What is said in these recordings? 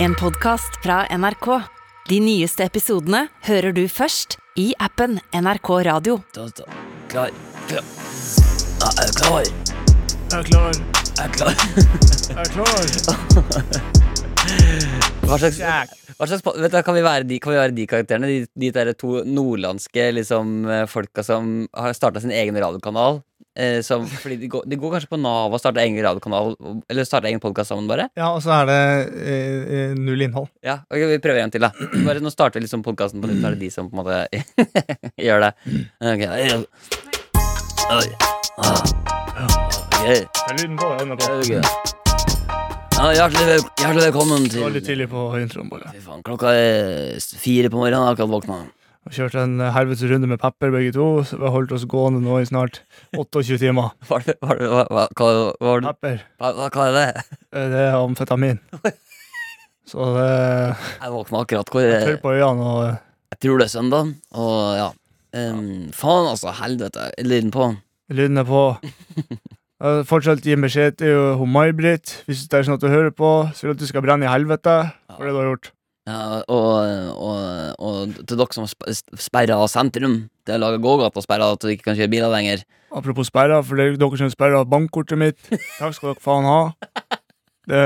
En podcast fra NRK. De nyeste episodene hører du først i appen NRK Radio. Da, da. Klar. Klar. Ja, jeg er klar. Jeg er klar. Jeg er klar. Jeg er klar. Hva slags, Jack. hva slags vet du, hva, kan, vi være de, kan vi være de karakterene? De, de der to nordlandske liksom, eh, folka som har starta sin egen radiokanal? Eh, som, fordi de går, de går kanskje på Nav og starter egen radiokanal Eller starter egen podkast sammen, bare? Ja, og så er det eh, eh, null innhold. Ja, ok, Vi prøver en til, da. Bare Nå starter vi liksom podkasten på nytt, så er det de som på en måte gjør det. Ok, ja. Oi. Ah. Ok. Jeg er lyden på. Jeg er på. Ja, hjertelig, vel, hjertelig velkommen Det var litt til tidlig på introen, bare. Fy faen, Klokka er s- fire på morgenen, jeg har akkurat våkna. Vi kjørte en eh, helvetes runde med pepper, begge to. så Vi har holdt oss gående nå i snart 28 timer. Hva, hva, hva, hva, hva, var det- Pepper, hva, hva, hva er det? eh, det er amfetamin. Så det Jeg våkna akkurat. Hvor, jeg tørr jeg på øynene og eh, tror det er søndag, og ja. Em, faen, altså. Helvete. Lyden på. lyden er på. Jeg vil fortsatt gi beskjed til hun May-Britt hvis det er sånn at du hører på. Så vil jeg at du skal brenne i helvete for det du har gjort. Ja, og, og, og til dere som sp- sperrer av sentrum. Det er laga gågata sperra, at du ikke kan kjøre biler lenger. Apropos sperra, for det er dere som sperra bankkortet mitt. Takk skal dere faen ha. Det,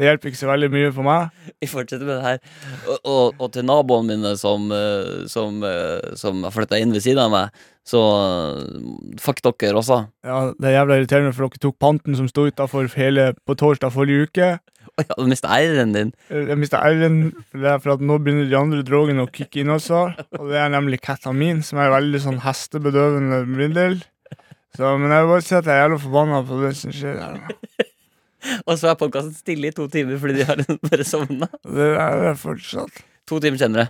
det hjelper ikke så veldig mye for meg. Vi fortsetter med det her. Og, og, og til naboene mine som, eh, som, eh, som har flytta inn ved siden av meg, så eh, fuck dere også. Ja, Det er jævla irriterende, for dere tok panten som sto utafor hele på torsdag forrige uke. Oi, ja, du mista æren din. Jeg mista r-en, for det er for at nå begynner de andre drogene å kicke inn også. Og det er nemlig ketamin, som er veldig sånn hestebedøvende middel. Så, men jeg vil bare si at jeg er jævla forbanna på det som skjer her. nå. Og så er podkasten stille i to timer fordi de har bare sovna. Det er det fortsatt. To timer senere.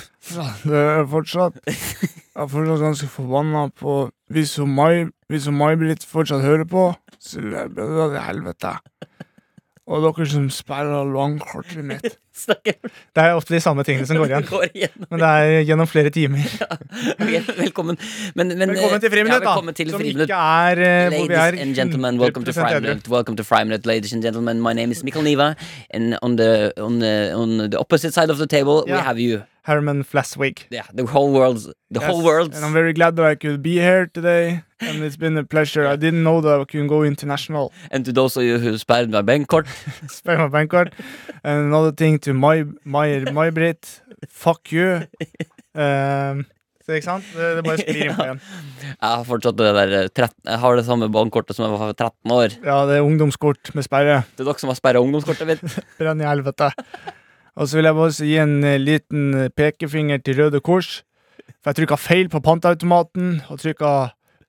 Det er fortsatt Jeg er fortsatt ganske forbanna på Hvis hun Mai- hvis hun May-Britt fortsatt hører på, så vil jeg bedre til helvete. Og dere som sperrer langkortet mitt. Snakker Det er ofte de samme tingene som går igjen. går igjen. Men det er gjennom flere timer. Ok, velkommen. Men, men, Velkommen til friminutt, ja, da! velkommen til Som friminutt. ikke er eh, hvor vi er Ladies and gentlemen, welcome to 100% edru. Friminute. Welcome to Friminute, ladies and gentlemen. My name is Mikkel Niva, and on the on the, on the opposite side of the table we Yeah. have you. Herman Flaswig. Yeah, the whole world's the whole Yes, world's And I'm very glad that I could be here today. And it's been a pleasure. I didn't know that I could go international. And to those of you who spared my bank card, Spare my bank card. And another thing to my, my, my Brit. Fuck you. Um, så ikke sant? Det, det bare sklir inn på igjen. jeg har fortsatt det der eh, trett- Jeg har det samme bankkortet som jeg var for 13 år. Ja, det er ungdomskort med sperre. Det er dere som har sperra ungdomskortet mitt. Brenn i helvete. Og så vil jeg bare også gi en eh, liten eh, pekefinger til Røde Kors. For jeg trykka feil på panteautomaten, og trykka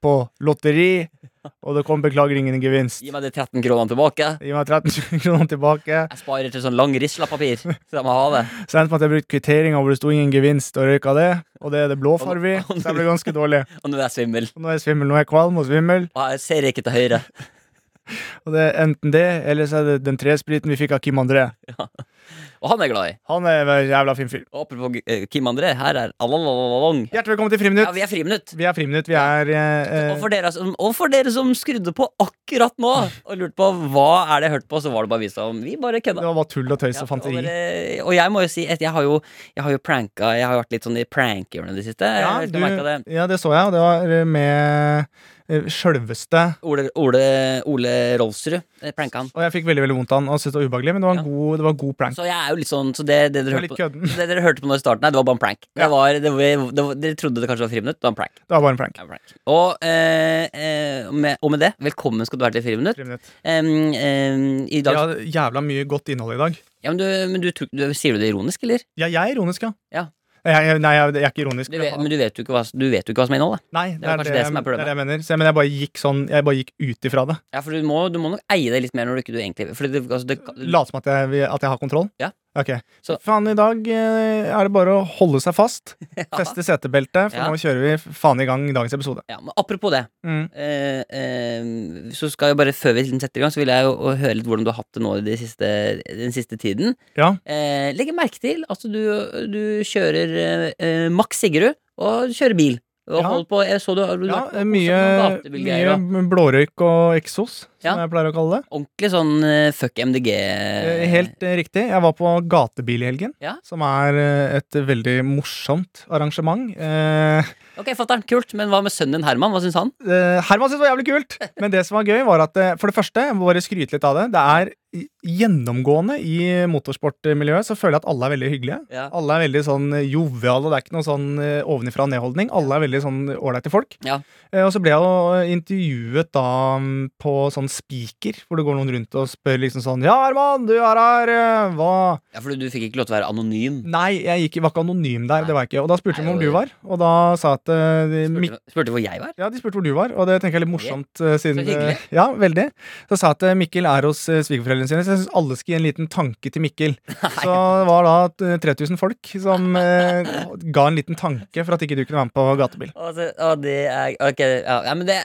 på lotteri, og det kom beklager ingen gevinst. Gi meg de 13 kronene tilbake. Gi meg 13 kroner tilbake. Jeg sparer til sånn lang rislapapir, så jeg må ha det. Så endte det med at jeg brukte kvitteringa hvor det sto ingen gevinst, og røyka det. Og det er det blåfarve i, så jeg ble ganske dårlig. Og nå er jeg svimmel. Og nå er jeg svimmel. Nå er jeg kvalm og svimmel. Og jeg ser ikke til høyre. Og det er enten det, eller så er det den trespriten vi fikk av Kim André. Og han er glad i. Han er en jævla fin fyr. Og apropos eh, Kim André, her er Alalalong. Hjertelig velkommen til Ja, vi Friminutt. er friminutt. Vi er Friminutt. Vi er eh, Og eh, for, dere som, og for dere som skrudde på akkurat nå og lurte på hva er det jeg hørte på, så var det bare vi som Vi bare kødda. Det var bare tull og tøys Ja, og fanteri. Og, bare- og jeg må jo si at jeg har jo, jeg har jo pranka Jeg har jo vært litt sånn i prankhjørnet i det siste. Jeg Ja, har ikke du, merket det. ja, det så jeg, og det var eh, med eh, sjølveste Ole, Ole, Ole Rolfsrud eh, pranka han. Og jeg fikk veldig veldig vondt av han, og syntes det var ubehagelig, men det var en Ja. god, det var en god prank. Så jeg er jo litt sånn Så det, det, Det dere, var hørte litt på, kødden. det dere hørte på nå i starten, her, det var bare en prank. Ja. Det var, det, var- det var, dere trodde det kanskje var friminutt. Det var en prank. Det var bare en prank. Det var en prank. Og, eh, eh, og med, og med det, velkommen skal du være til Friminutt. Friminutt. Em, em, I Vi dag har jævla mye godt innhold i dag. Ja, men, du, men du, tror- du, Sier du det ironisk, eller? Ja, jeg er ironisk, ja. Ja. Jeg, jeg, nei, jeg, jeg er ikke ironisk. Du vet, men du vet jo ikke hva, du vet jo ikke hva som er innholdet. nei, det er kanskje det som er jeg- det er det jeg mener. Så, jeg- men jeg bare gikk sånn Jeg bare gikk ut ifra det. Ja, for du må, du må nok eie det litt mer når du ikke du egentlig Fordi det, altså, det, kan- Late som at jeg, at jeg har kontroll. Ja. Ok. Så- Faen, i dag eh, er det bare å holde seg fast, feste setebeltet, for Ja. nå kjører vi f- faen i gang dagens episode. Ja, men apropos det, Mm. eh, eh, så skal jeg bare før vi liksom setter i gang, så vil jeg jo å høre litt hvordan du har hatt det nå i de siste, den siste tiden. Ja. Eh, legge merke til at du, du kjører eh, eh, Max Sigerud og kjører bil. Og Ja. holdt på, jeg så du, du Ja, har vært på- mye, også noen gatebilgreier, mye blårøyk og eksos som Ja. jeg pleier å kalle det. Ordentlig sånn eh, fuck MDG. Eh, Helt eh, riktig. Jeg var på Gatebil i helgen, Ja. som er eh, et veldig morsomt arrangement. Eh, Ok, fatter'n, kult. Men hva med sønnen din Herman? Hva syns han? eh, Herman syntes det var jævlig kult, men det som var gøy, var at eh, for det første, jeg må bare skryte litt av det, det er i- gjennomgående i motorsportmiljøet så føler jeg at alle er veldig hyggelige. Ja. Alle er veldig sånn joviale, det er ikke noe sånn eh, ovenifra og ned-holdning. Alle er veldig sånn ålreite folk. Ja. Eh, Og så ble jeg jo intervjuet da mm, på sånn Spiker, hvor det går noen rundt og spør liksom sånn Ja, Herman, du er her, eh, hva ja, for du fikk ikke lov til å være anonym. Nei, jeg gikk, var ikke anonym der, det var jeg ikke. Og da spurte Nei, de om det du var- var, og da sa jeg at eh, de, Mik- Spurte, spurte hvor jeg var. ja, de spurte hvor du var, og det tenker jeg er litt Ok. morsomt. eh, Siden, Så hyggelig. eh, Ja, veldig. Så sa jeg at eh, Mikkel er hos eh, svigerforeldrene sine, så jeg syns alle skal gi en liten tanke til Mikkel. Så det var da eh, 3000 folk som eh, ga en liten tanke for at ikke du kunne være med på gatebil. Altså, å, det er Ok, ja, ja men det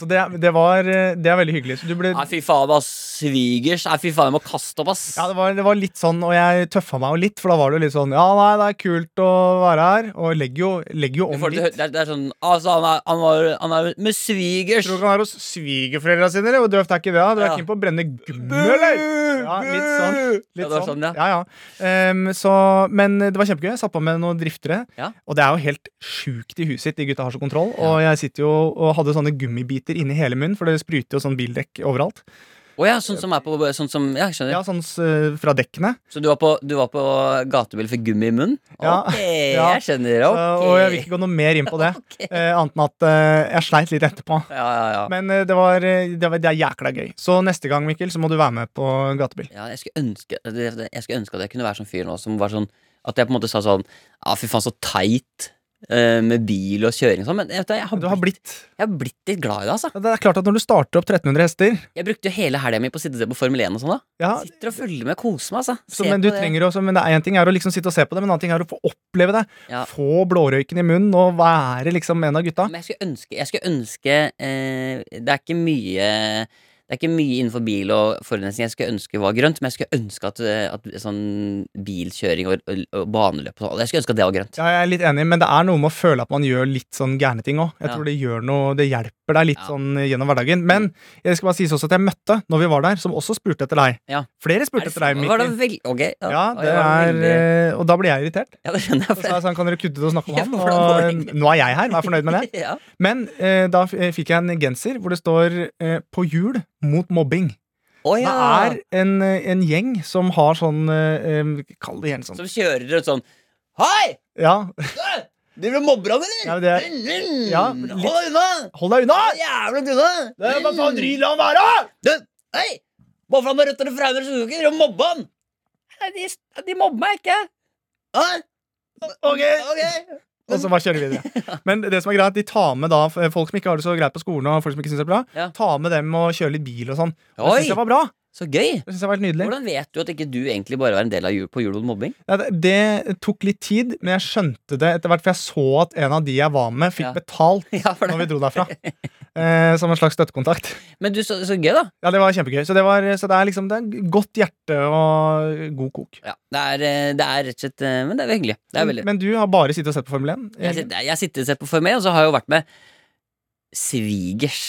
Så det, det, var, eh, det er veldig hyggelig. Så du ble Nei, Ah, fy faen, ass. Svigers. Nei, fy faen, jeg må kaste opp, ass. ja, det var, det var litt sånn, og jeg tøffa meg jo litt, for da var det jo litt sånn Ja, nei, det er kult å være her, og legger jo, legger jo Du om får det, til å hø- litt. det, er, det er sånn Altså, han er, han var, han er med Jeg svigers. tror ikke han er hos svigerforeldra sine, eller? Hvor døvt er ikke det? da? Du er Ja. keen på å brenne gummi, eller? Ja, litt sånn. Ja, Litt det var sånn. sånn, ja. ja. ja, Ehm, så, men det var kjempegøy. Jeg satt på med noen driftere. Ja. Og det er jo helt sjukt i huset sitt. De gutta har så kontroll. Og jeg sitter jo og hadde sånne gummibiter inni hele munnen, for det spruter jo sånn bildekk overalt. Å ja, sånn som er på Sånn som Ja, skjønner. Ja, sånn s- fra dekkene. Så du var på, du var på gatebil for gummi i munnen? Ja. Ok, Ja. jeg skjønner. Så- Ok. Og jeg vil ikke gå noe mer inn på det, eh, annet enn at eh, jeg sleit litt etterpå. Ja, ja, ja. Men eh, det, var, eh, det, var, det er jækla gøy. Så neste gang, Mikkel, så må du være med på gatebil. ja jeg, skulle ønske, det- det- jeg skulle ønske at jeg kunne være sånn fyr nå som var sånn At jeg på en måte sa sånn Ja, fy faen, så teit eh, med bil og kjøring og sånn. Men jeg, vet, du, jeg, har Du har blitt, blitt jeg har blitt litt glad i det, altså. Ja, Det er klart at når du starter opp 1300 hester Jeg brukte jo hele helga mi på å sitte og se på Formel 1 og sånn. da ja, Sitter og følger med, koser meg, altså. Så, Se men på du det. trenger jo også, men det er en ting er å liksom sitte og se på det, men en annen ting er å få oppleve det. Ja. Få blårøyken i munnen og være liksom en av gutta. Men jeg skulle ønske, jeg skulle ønske eh, Det er ikke mye Det er ikke mye innenfor bil og forurensning jeg skulle ønske var grønt, men jeg skulle ønske at, eh, at sånn bilkjøring og, og, og baneløp og sånn Jeg skulle ønske at det var grønt. Ja, jeg er litt enig, men det er noe med å føle at man gjør litt sånn gærne ting òg. Jeg Ja. tror det gjør noe, det hjelper deg litt Ja. sånn gjennom hverdagen. Men jeg skal bare sies også at jeg møtte når vi var der, som også spurte etter deg. Ja. Flere Er spurte det etter deg, sant? Var det Mikkel. vel, ok, ja, Ja, Oi, var det er, det veldig- eh, og da blir jeg irritert. ja, det skjønner jeg. Så sa jeg sånn, kan dere kudde det og snakke om Ja, ham? hvordan går det Og eh, egentlig? nå er jeg her, vær fornøyd med det. ja. Men eh, da f- eh, fikk jeg en genser hvor det står eh, 'På hjul mot mobbing'. Å ja. Det er en, en gjeng som har sånn eh, em, Kall det gjerne sånn. Som kjører rundt sånn Hei! Ja, Driver og mobber han, eller? Ja, men det er- Mm, ja, litt- Hold deg unna! Hold deg unna! Hold Jævla unna! la sånn han være! Du, hei! Bare for han har røtter og frauner, så skal du ikke drive og mobbe han! Nei, de, de mobber meg ikke. Hæ? Ok. Ok. Og så bare kjører vi videre. Men det som er greit, de tar med da f- folk som ikke har det så greit på skolen, og folk som ikke syns det er bra, Ja. ta med dem og kjøre litt bil og sånn. Det Oi, syns jeg var bra. så gøy! Det synes jeg var helt nydelig. Hvordan vet du at ikke du egentlig bare var en del av jul på jul mot mobbing? Ja, Det, det tok litt tid, men jeg skjønte det etter hvert, for jeg så at en av de jeg var med, fikk Ja. betalt Ja, for når vi dro derfra. Eh, som en slags støttekontakt. Men du, så, så gøy, da. Ja, det var kjempegøy. Så det, var, så det er liksom det er godt hjerte og god kok. Ja, det, er, eh, det er rett og slett eh, Men det er veldig hyggelig. Det er veldig. Men du har bare sittet og sett på Formel 1? Jeg, sitter- jeg sitter og ser på Formel, og så har jeg jo vært med svigers.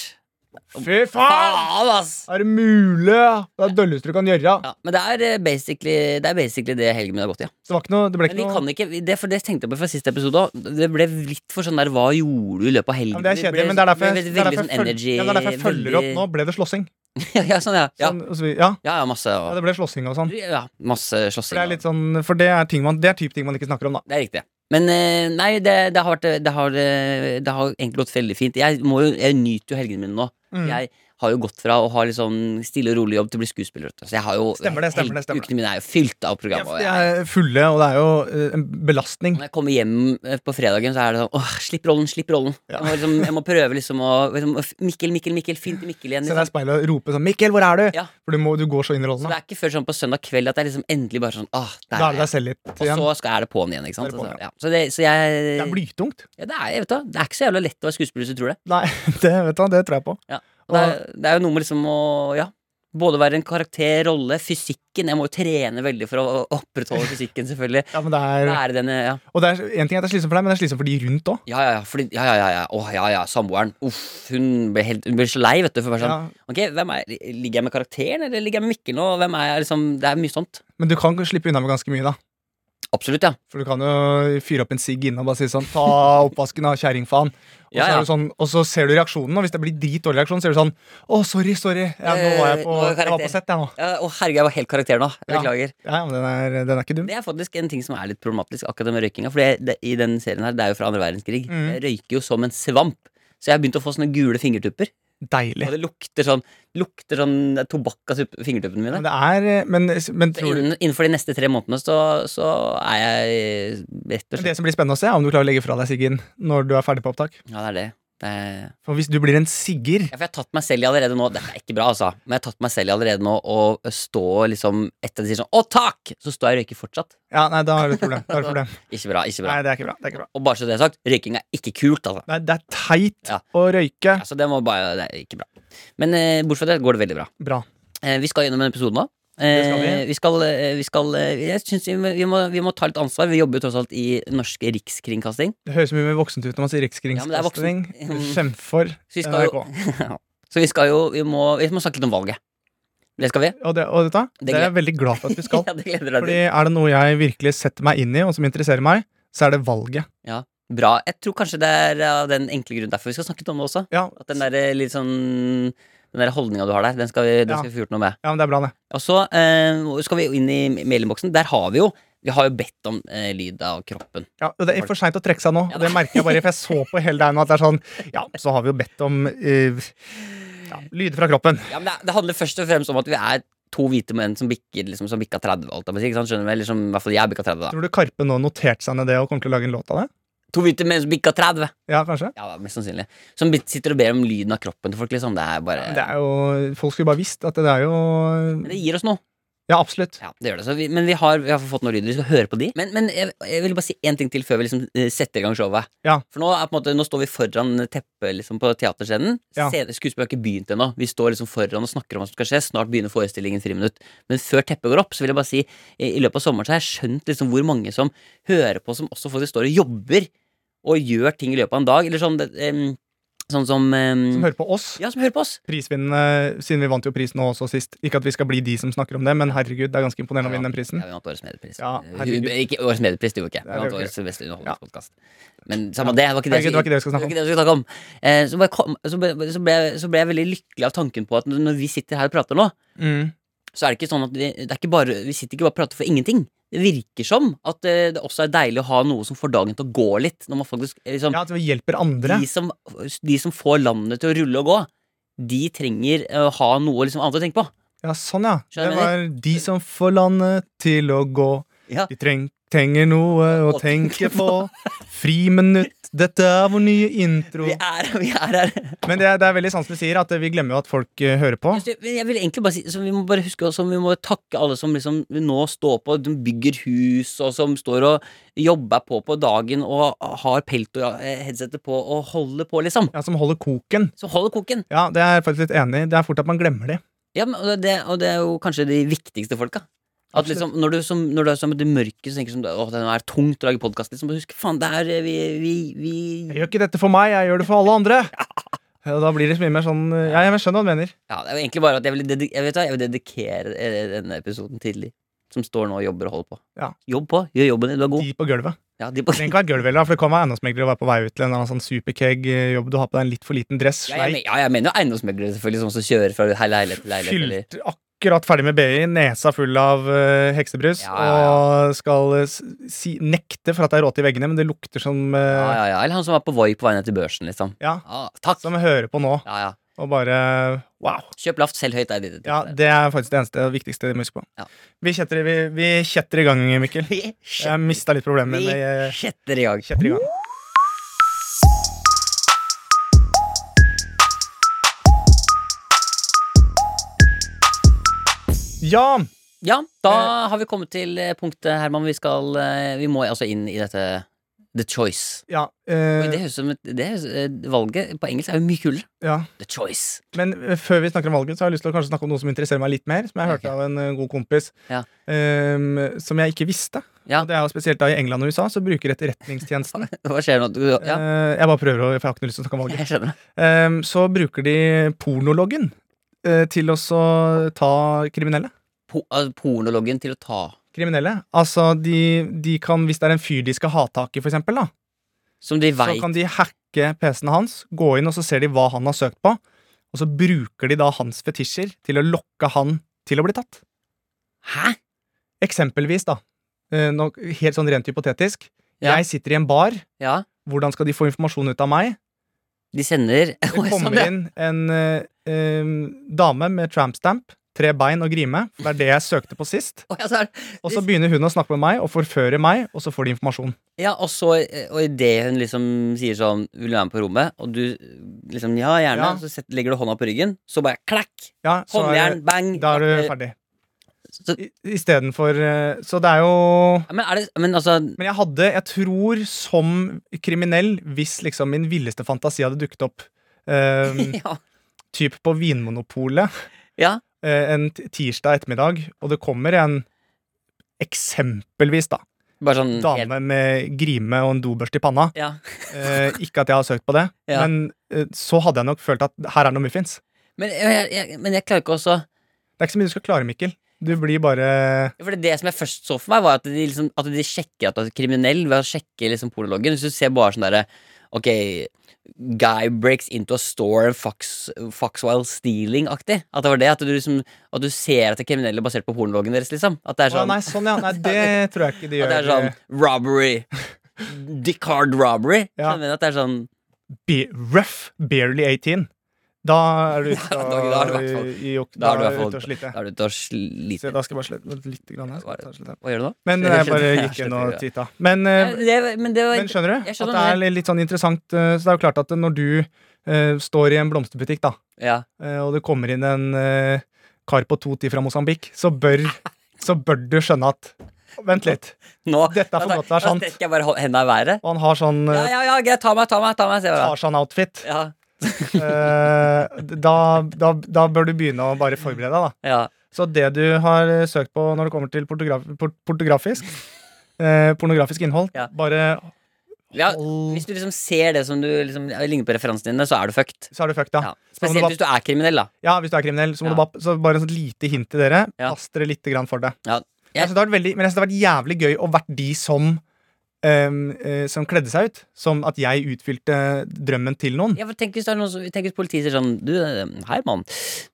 Fy faen! Faen, ass! Er det mulig? Det er det dølleste du kan gjøre. Ja, men det er eh, basically det, er basically det helgen min har gått i. Ja. Så det var ikke noe, det ble Men ikke vi noe kan ikke, vi- det, for det tenkte jeg på fra siste episode også. Det ble litt for sånn der Hva gjorde du i løpet av helgen? ja, men Det er ble- kjedelig, men det er derfor, ble det veldig, er derfor, sånn jeg følger- energy ja, det er derfor jeg følger opp veldig- nå. Ble det slåssing? ja, ja, sånn, ja. Ja, Sånn, og så vi- ja. ja, ja masse ja, og, det ble slåssing og sånn. ja, masse For slåssing. det er litt sånn, for det er, ting man, det er typ ting man ikke snakker om, da. Det er riktig. Men eh, nei, det, det, har vært, det, har, eh, det har egentlig gått veldig fint. Jeg, må jo, jeg nyter jo helgene mine nå. Mm. Jeg har jo gått fra å ha litt sånn stille og rolig jobb til å bli skuespiller. vet du. Så jeg har jo Stemmer det, stemmer det, stemmer det. Ukene mine er jo fylt av Ja, program. for Og De jeg, er fulle, og det er jo eh, en belastning. når jeg kommer hjem eh, på fredagen, så er det sånn åh, slipp rollen, slipp rollen. Ja. Jeg, må liksom, jeg må prøve liksom å liksom, Mikkel, Mikkel, Mikkel. Fint til Mikkel igjen. Se Liksom. deg i speilet og rope sånn 'Mikkel, hvor er du?' Ja. For du, må, du går så inn i rollen. Så det Da, er ikke før sånn på søndag kveld at jeg liksom endelig bare sånn Åh, der da er er det deg jeg. selv litt Og igjen. så skal jeg det på'n igjen, ikke sant. Da er det på'n, Så, ja. så, det, så jeg Det er blytungt. ja, det, er, jeg vet da, det er ikke så jævla lett å være skuespiller hvis du tror det. Nei, det, vet du, hva, det tror jeg på. Og det, er, det er jo noe med liksom å Ja. Både være en karakter, rolle, fysikken Jeg må jo trene veldig for å opprettholde fysikken, selvfølgelig. Ja, men det er, Lære denne, ja. og det er en ting er at det er slitsomt for deg, men det er slitsomt for de rundt òg. Ja, ja, ja, fordi, ja, ja, ja, ja. Åh, ja, ja, samboeren. Uff, hun blir, helt, hun blir så lei, vet du. For å være sånn, Ja. ok, hvem er, Ligger jeg med karakteren, eller ligger jeg med Mikkel nå? Hvem er jeg, liksom, Det er mye sånt. Men du kan slippe unna med ganske mye, da. Absolutt, ja. For du kan jo fyre opp en sigg inne og bare si sånn Ta oppvasken av kjerringfaen. Og, så Ja, ja. er du sånn, og så ser du reaksjonen, og hvis det blir dritdårlig reaksjon, så er du sånn Å, sorry, sorry. Ja, nå var jeg på, Eh, nå er jeg var karakter. på sett, jeg nå. Ja, Å, herregud, jeg var helt karakter nå. Jeg Ja. Beklager. Ja, ja, men den er, den er ikke dum. Det er faktisk en ting som er litt problematisk, akkurat det med røykinga. For det, det, i den serien her, det er jo fra andre verdenskrig. Mm. Jeg røyker jo som en svamp. Så jeg har begynt å få sånne gule fingertupper. Deilig. Og det lukter sånn lukter sånn det er tobakk av tupp- fingertuppene mine. Men det er Men, men tror du Innen, innenfor de neste tre månedene så, så er jeg rett og men slett Det som blir spennende å se, er om du klarer å legge fra deg siggen når du er ferdig på opptak. Ja, det er det. det er, For hvis du blir en sigger Ja, for jeg har tatt meg selv i allerede nå Dette er ikke bra, altså. Men jeg har tatt meg selv i allerede nå og stå liksom etter at de sier sånn 'Å, takk!' Så står jeg og røyker fortsatt. Ja, nei, da har du et problem. Da har du et problem. Ikke bra. ikke bra Nei, det er ikke bra. Det er, ikke bra. Og bare så det er sagt, røyking er ikke kult, altså. Nei, det er teit Ja. å røyke. altså det, må bare, det er ikke bra. Men eh, bortsett fra det går det veldig bra. Bra. Eh, vi skal gjennom en episode nå. Det skal vi. Eh, vi skal, eh, vi skal eh, Jeg synes vi, må- vi, må, vi må ta litt ansvar. Vi jobber jo tross alt i norsk rikskringkasting. Det høres mye mer voksent ut når man sier Ja, men det er rikskringkasting. voksent. Kjemp for eh, Så vi skal jo, NRK. så vi, skal jo vi, må, vi må snakke litt om valget. Det skal vi. Og, det, og dette, Det det er jeg veldig glad for at vi skal. ja, det gleder jeg Fordi til. er det noe jeg virkelig setter meg inn i, og som interesserer meg, så er det valget. Bra. Jeg tror kanskje det er av den enkle grunnen derfor vi skal snakke litt om det også. Ja, At den der, eh, litt sånn den der holdninga du har der, den skal vi, den Ja. skal vi få gjort noe med. ja men det er bra, det. Og så eh, skal vi jo inn i mailinnboksen. Der har vi jo Vi har jo bedt om eh, lyd av kroppen. Ja, og det er for seint å trekke seg nå. Ja, og Det merker jeg bare, for jeg så på hele deg nå at det er sånn Ja, så har vi jo bedt om uh, ja, lyder fra kroppen. Ja, men det, det handler først og fremst om at vi er to hvite menn som bikker liksom, som bikka 30. Alt, ikke sant? Skjønner du? Eller som i hvert fall jeg bikka 30, da. Tror du Karpe nå noterte seg ned det og kommer til å lage en låt av det? To hvite menn som bikka 30! Ja, kanskje? Ja, mest sannsynlig. Som bit- sitter og ber om lyden av kroppen til folk, liksom. Det er bare Men Det er jo, Folk skulle bare visst at det er jo Men det gir oss noe. Ja, absolutt. Ja, det gjør det. Så vi, men vi har, vi har fått noen lyder. Vi skal høre på de. Men, men jeg, jeg vil bare si én ting til før vi liksom eh, setter i gang showet. Ja. For nå, er på en måte, nå står vi foran teppet liksom, på teaterscenen. Ja. Scenen- Skuespillet har ikke begynt ennå. Vi står liksom foran og snakker om hva som skal skje. Snart begynner forestillingen friminutt. Men før teppet går opp, så vil jeg bare si eh, i løpet av sommeren så har jeg skjønt liksom hvor mange som hører på, som også faktisk står og jobber og gjør ting i løpet av en dag. Eller sånn, det, em, sånn som em, Som hører på oss. Ja, som hører på oss. Prisvinnende, siden vi vant jo prisen nå også sist. Ikke at vi skal bli de som snakker om det, men herregud, det er ganske imponerende å vinne den prisen. Ja, vi vant Årets mediepris. Ja, Eh, herregud. hu- ikke Årets mediepris, det gjorde ikke jeg. Nei, Vi det vant gjorde Årets beste underholdningspodkast. Men samme det, det var ikke det, Herregud, det var ikke det vi skal snakke om. det vi skulle snakke om. Eh, Så, bare kom, så, ble, så, ble, så ble jeg veldig lykkelig av tanken på at når vi sitter her og prater nå, Mm. så er det ikke sånn at vi, det er ikke bare, vi sitter ikke bare og prater for ingenting. Det virker som at eh, det også er deilig å ha noe som får dagen til å gå litt. Når man faktisk, eh, liksom, Ja, at vi hjelper andre. de, som, de som får landet til å rulle og gå, de trenger eh, å ha noe liksom, annet å tenke på. Ja, sånn, ja. Skjønner Det du? var de som får landet til å gå. Ja. De treng, trenger noe å Å tenke tenke på. Friminutt, dette er vår nye intro. Vi er, vi er her. Men det, er- det er veldig sant som du sier, at vi glemmer jo at folk eh, hører på. Jeg synes- men Jeg vil egentlig bare si så Vi må bare huske også, Vi må takke alle som liksom nå står på De bygger hus Og som står og jobber på på dagen Og har pelt og eh, headsetet på Og holder på liksom Ja, Som holder koken. Så holder koken Ja, det er jeg faktisk litt enig i. Det er fort at man glemmer det. ja, men, og, det, og det er jo kanskje de viktigste folka at Absolutt. liksom, når, du, som, når du er som i det mørke Så tenker du sånn Åh, det er tungt å lage podcast liksom, Husk, faen, det er eh, vi, vi, vi Jeg gjør ikke dette for meg, jeg gjør det for alle andre. Og da blir det så mye mer sånn eh, Ja, jeg skjønner hva du mener. Ja, det er jo egentlig bare at jeg vil, dedi- jeg vet, hva, jeg vil dedikere eh, denne episoden til de Som står nå og jobber og holder på Ja. Jobb på, gjør jobben din, du er god De på gulvet. ja, de Det trenger ikke være gulvet heller, for det kan være eiendomsmegler å være på vei ut til en eller annen sånn superkeg-jobb. Du har på deg en litt for liten dress, Ja, jeg, sleik, men- ja, jeg mener jo eiendomsmeglere selvfølgelig som også kjører fra hei- leilighet til leilighet. Eller. fylt akkurat ferdig med BI, nesa full av eh, heksebrus, Ja, ja, ja. og skal eh, s- si, nekte for at det er råte i veggene, men det lukter som eh, Ja, ja, ja, ja. eller han som var på Voi på vei ned til børsen, liksom. Ja, takk! Som jeg hører på nå, Ja, ja. og bare wow. Kjøp lavt, selv høyt. Er det, Ja, det er faktisk det eneste og viktigste vi må huske på. Ja. Vi, kjetter, i- vi, vi kjetter i gang, Mikkel. Vi kjet- Jeg mista litt problemer vi med eh, kjetter i gang. kjetter i gang. Ja! eh, Ja, da har vi kommet til eh, punktet, Herman. Vi, skal, eh, vi må altså inn i dette The Choice. Ja, Oi, eh, det høres ut som et, det høres, eh, Valget på engelsk er jo mye kulere. ja. The Choice. Men eh, før vi snakker om valget, så har jeg lyst til å kanskje snakke om noe som interesserer meg litt mer. Som jeg hørte Ok. av en eh, god kompis. Ja. eh, som jeg ikke visste. Ja. Og det er jo spesielt da i England og USA, så bruker etterretningstjenestene Hva skjer nå? Du- Ja, eh, Jeg bare prøver å, for jeg har ikke noe lyst til å snakke om valget. jeg skjønner. Ehm, så bruker de pornologgen eh, til å så ta kriminelle. Po altså, pornologen til å ta Kriminelle, altså de, de kan, Hvis det er en fyr de skal ha tak i, for eksempel, da, Som de så veit kan de hacke PC-en hans, gå inn og så ser de hva han har søkt på, og så bruker de da hans fetisjer til å lokke han til å bli tatt. Hæ? Eksempelvis, da, eh, nå- helt sånn rent hypotetisk, Ja. jeg sitter i en bar, Ja. hvordan skal de få informasjon ut av meg? De sender sånn, Det kommer inn en eh, eh, dame med trampstamp, tre bein og grime, for det er det jeg søkte på sist. Og, altså, Og så begynner hun å snakke med meg og forføre meg, og så får de informasjon. ja, og så eh, Og idet hun liksom sier sånn 'Vil du være med på rommet?' Og du liksom 'Ja, gjerne', Ja. så setter, legger du hånda på ryggen, så bare klakk! Ja, så er, Håndjern, bang! da er du Eh, ferdig. så- I- Istedenfor eh, Så det er jo Ja, Men er det Men altså Men jeg hadde, jeg tror som kriminell, hvis liksom min villeste fantasi hadde dukket opp eh, Ja. Typ på Vinmonopolet ja. eh, en t- tirsdag ettermiddag, og det kommer en Eksempelvis, da. Bare sånn helt- dame med grime og en dobørste i panna. Ja. Eh, ikke at jeg har søkt på det, Ja. men eh, så hadde jeg nok følt at her er noe muffins. Men jeg, jeg, men jeg klarer ikke også Det er ikke så mye du skal klare, Mikkel. Du blir bare For det, det som jeg først så for meg, var at de, liksom, at de sjekker at du er kriminell ved å sjekke liksom, pornologgen. Hvis du ser bare sånn derre Ok, guy breaks into a store and fucks, fucks while stealing-aktig. At det var det. At du, liksom, at du ser at det er kriminelle basert på pornologgen deres, liksom. At det er Å, sånn, nei, sånn, ja. Nei, det tror jeg ikke at de gjør. eh, det er sånn robbery. Dickard robbery. Ja. Skjønner du? At det er sånn Be rough, barely 18. Da er du Ja, ute og da- da er du i hvert fall- i- i ok- da er du i da hvert er du fall- ute og sliter. Da er du ute og Så sliter. da skal jeg bare slette litt, lite grann her. Skal jeg ta og slette her. Hva gjør du nå? Men Jeg jeg bare skjønner- gikk jeg inn skjønner og det. titta. Men, eh, Det, men det var men skjønner du? jeg At skjønner det er litt sånn interessant. eh, Så det er jo klart at når du eh, står i en blomsterbutikk, da, Ja. eh, og det kommer inn en eh, kar på to ti fra Mosambik, så bør, så bør du skjønne at Vent litt. Nå, Dette er for da- godt til å være sant. Da strekker jeg bare hå- henda i været. Og han har sånn Ja, ja, ja, greit. Ta meg, ta meg. ta meg sier jeg bare. Tarzan-outfit. Ja, Eh, da, da, da bør du begynne å bare forberede deg, da. ja. Så det du har eh, søkt på når det kommer til portograf port portografisk eh, Pornografisk innhold, Ja. bare ja hold Hvis du liksom ser det som du liksom, ja, ligner på referansene dine, så er du fucked. Så er du fucked, da. Ja. Spesielt hvis du er kriminell, da. Ja, hvis du er kriminell. Så, må Ja. du bare, så bare et lite hint til dere. Ja. Pass dere litt grann for det. Ja. Jeg synes det har vært veldig, men jeg synes det har vært jævlig gøy å vært de som em, eh, som kledde seg ut. Som at jeg utfylte drømmen til noen. Ja, for tenk hvis, det er noen som, tenk hvis politiet sier sånn Du, eh, hei, mann.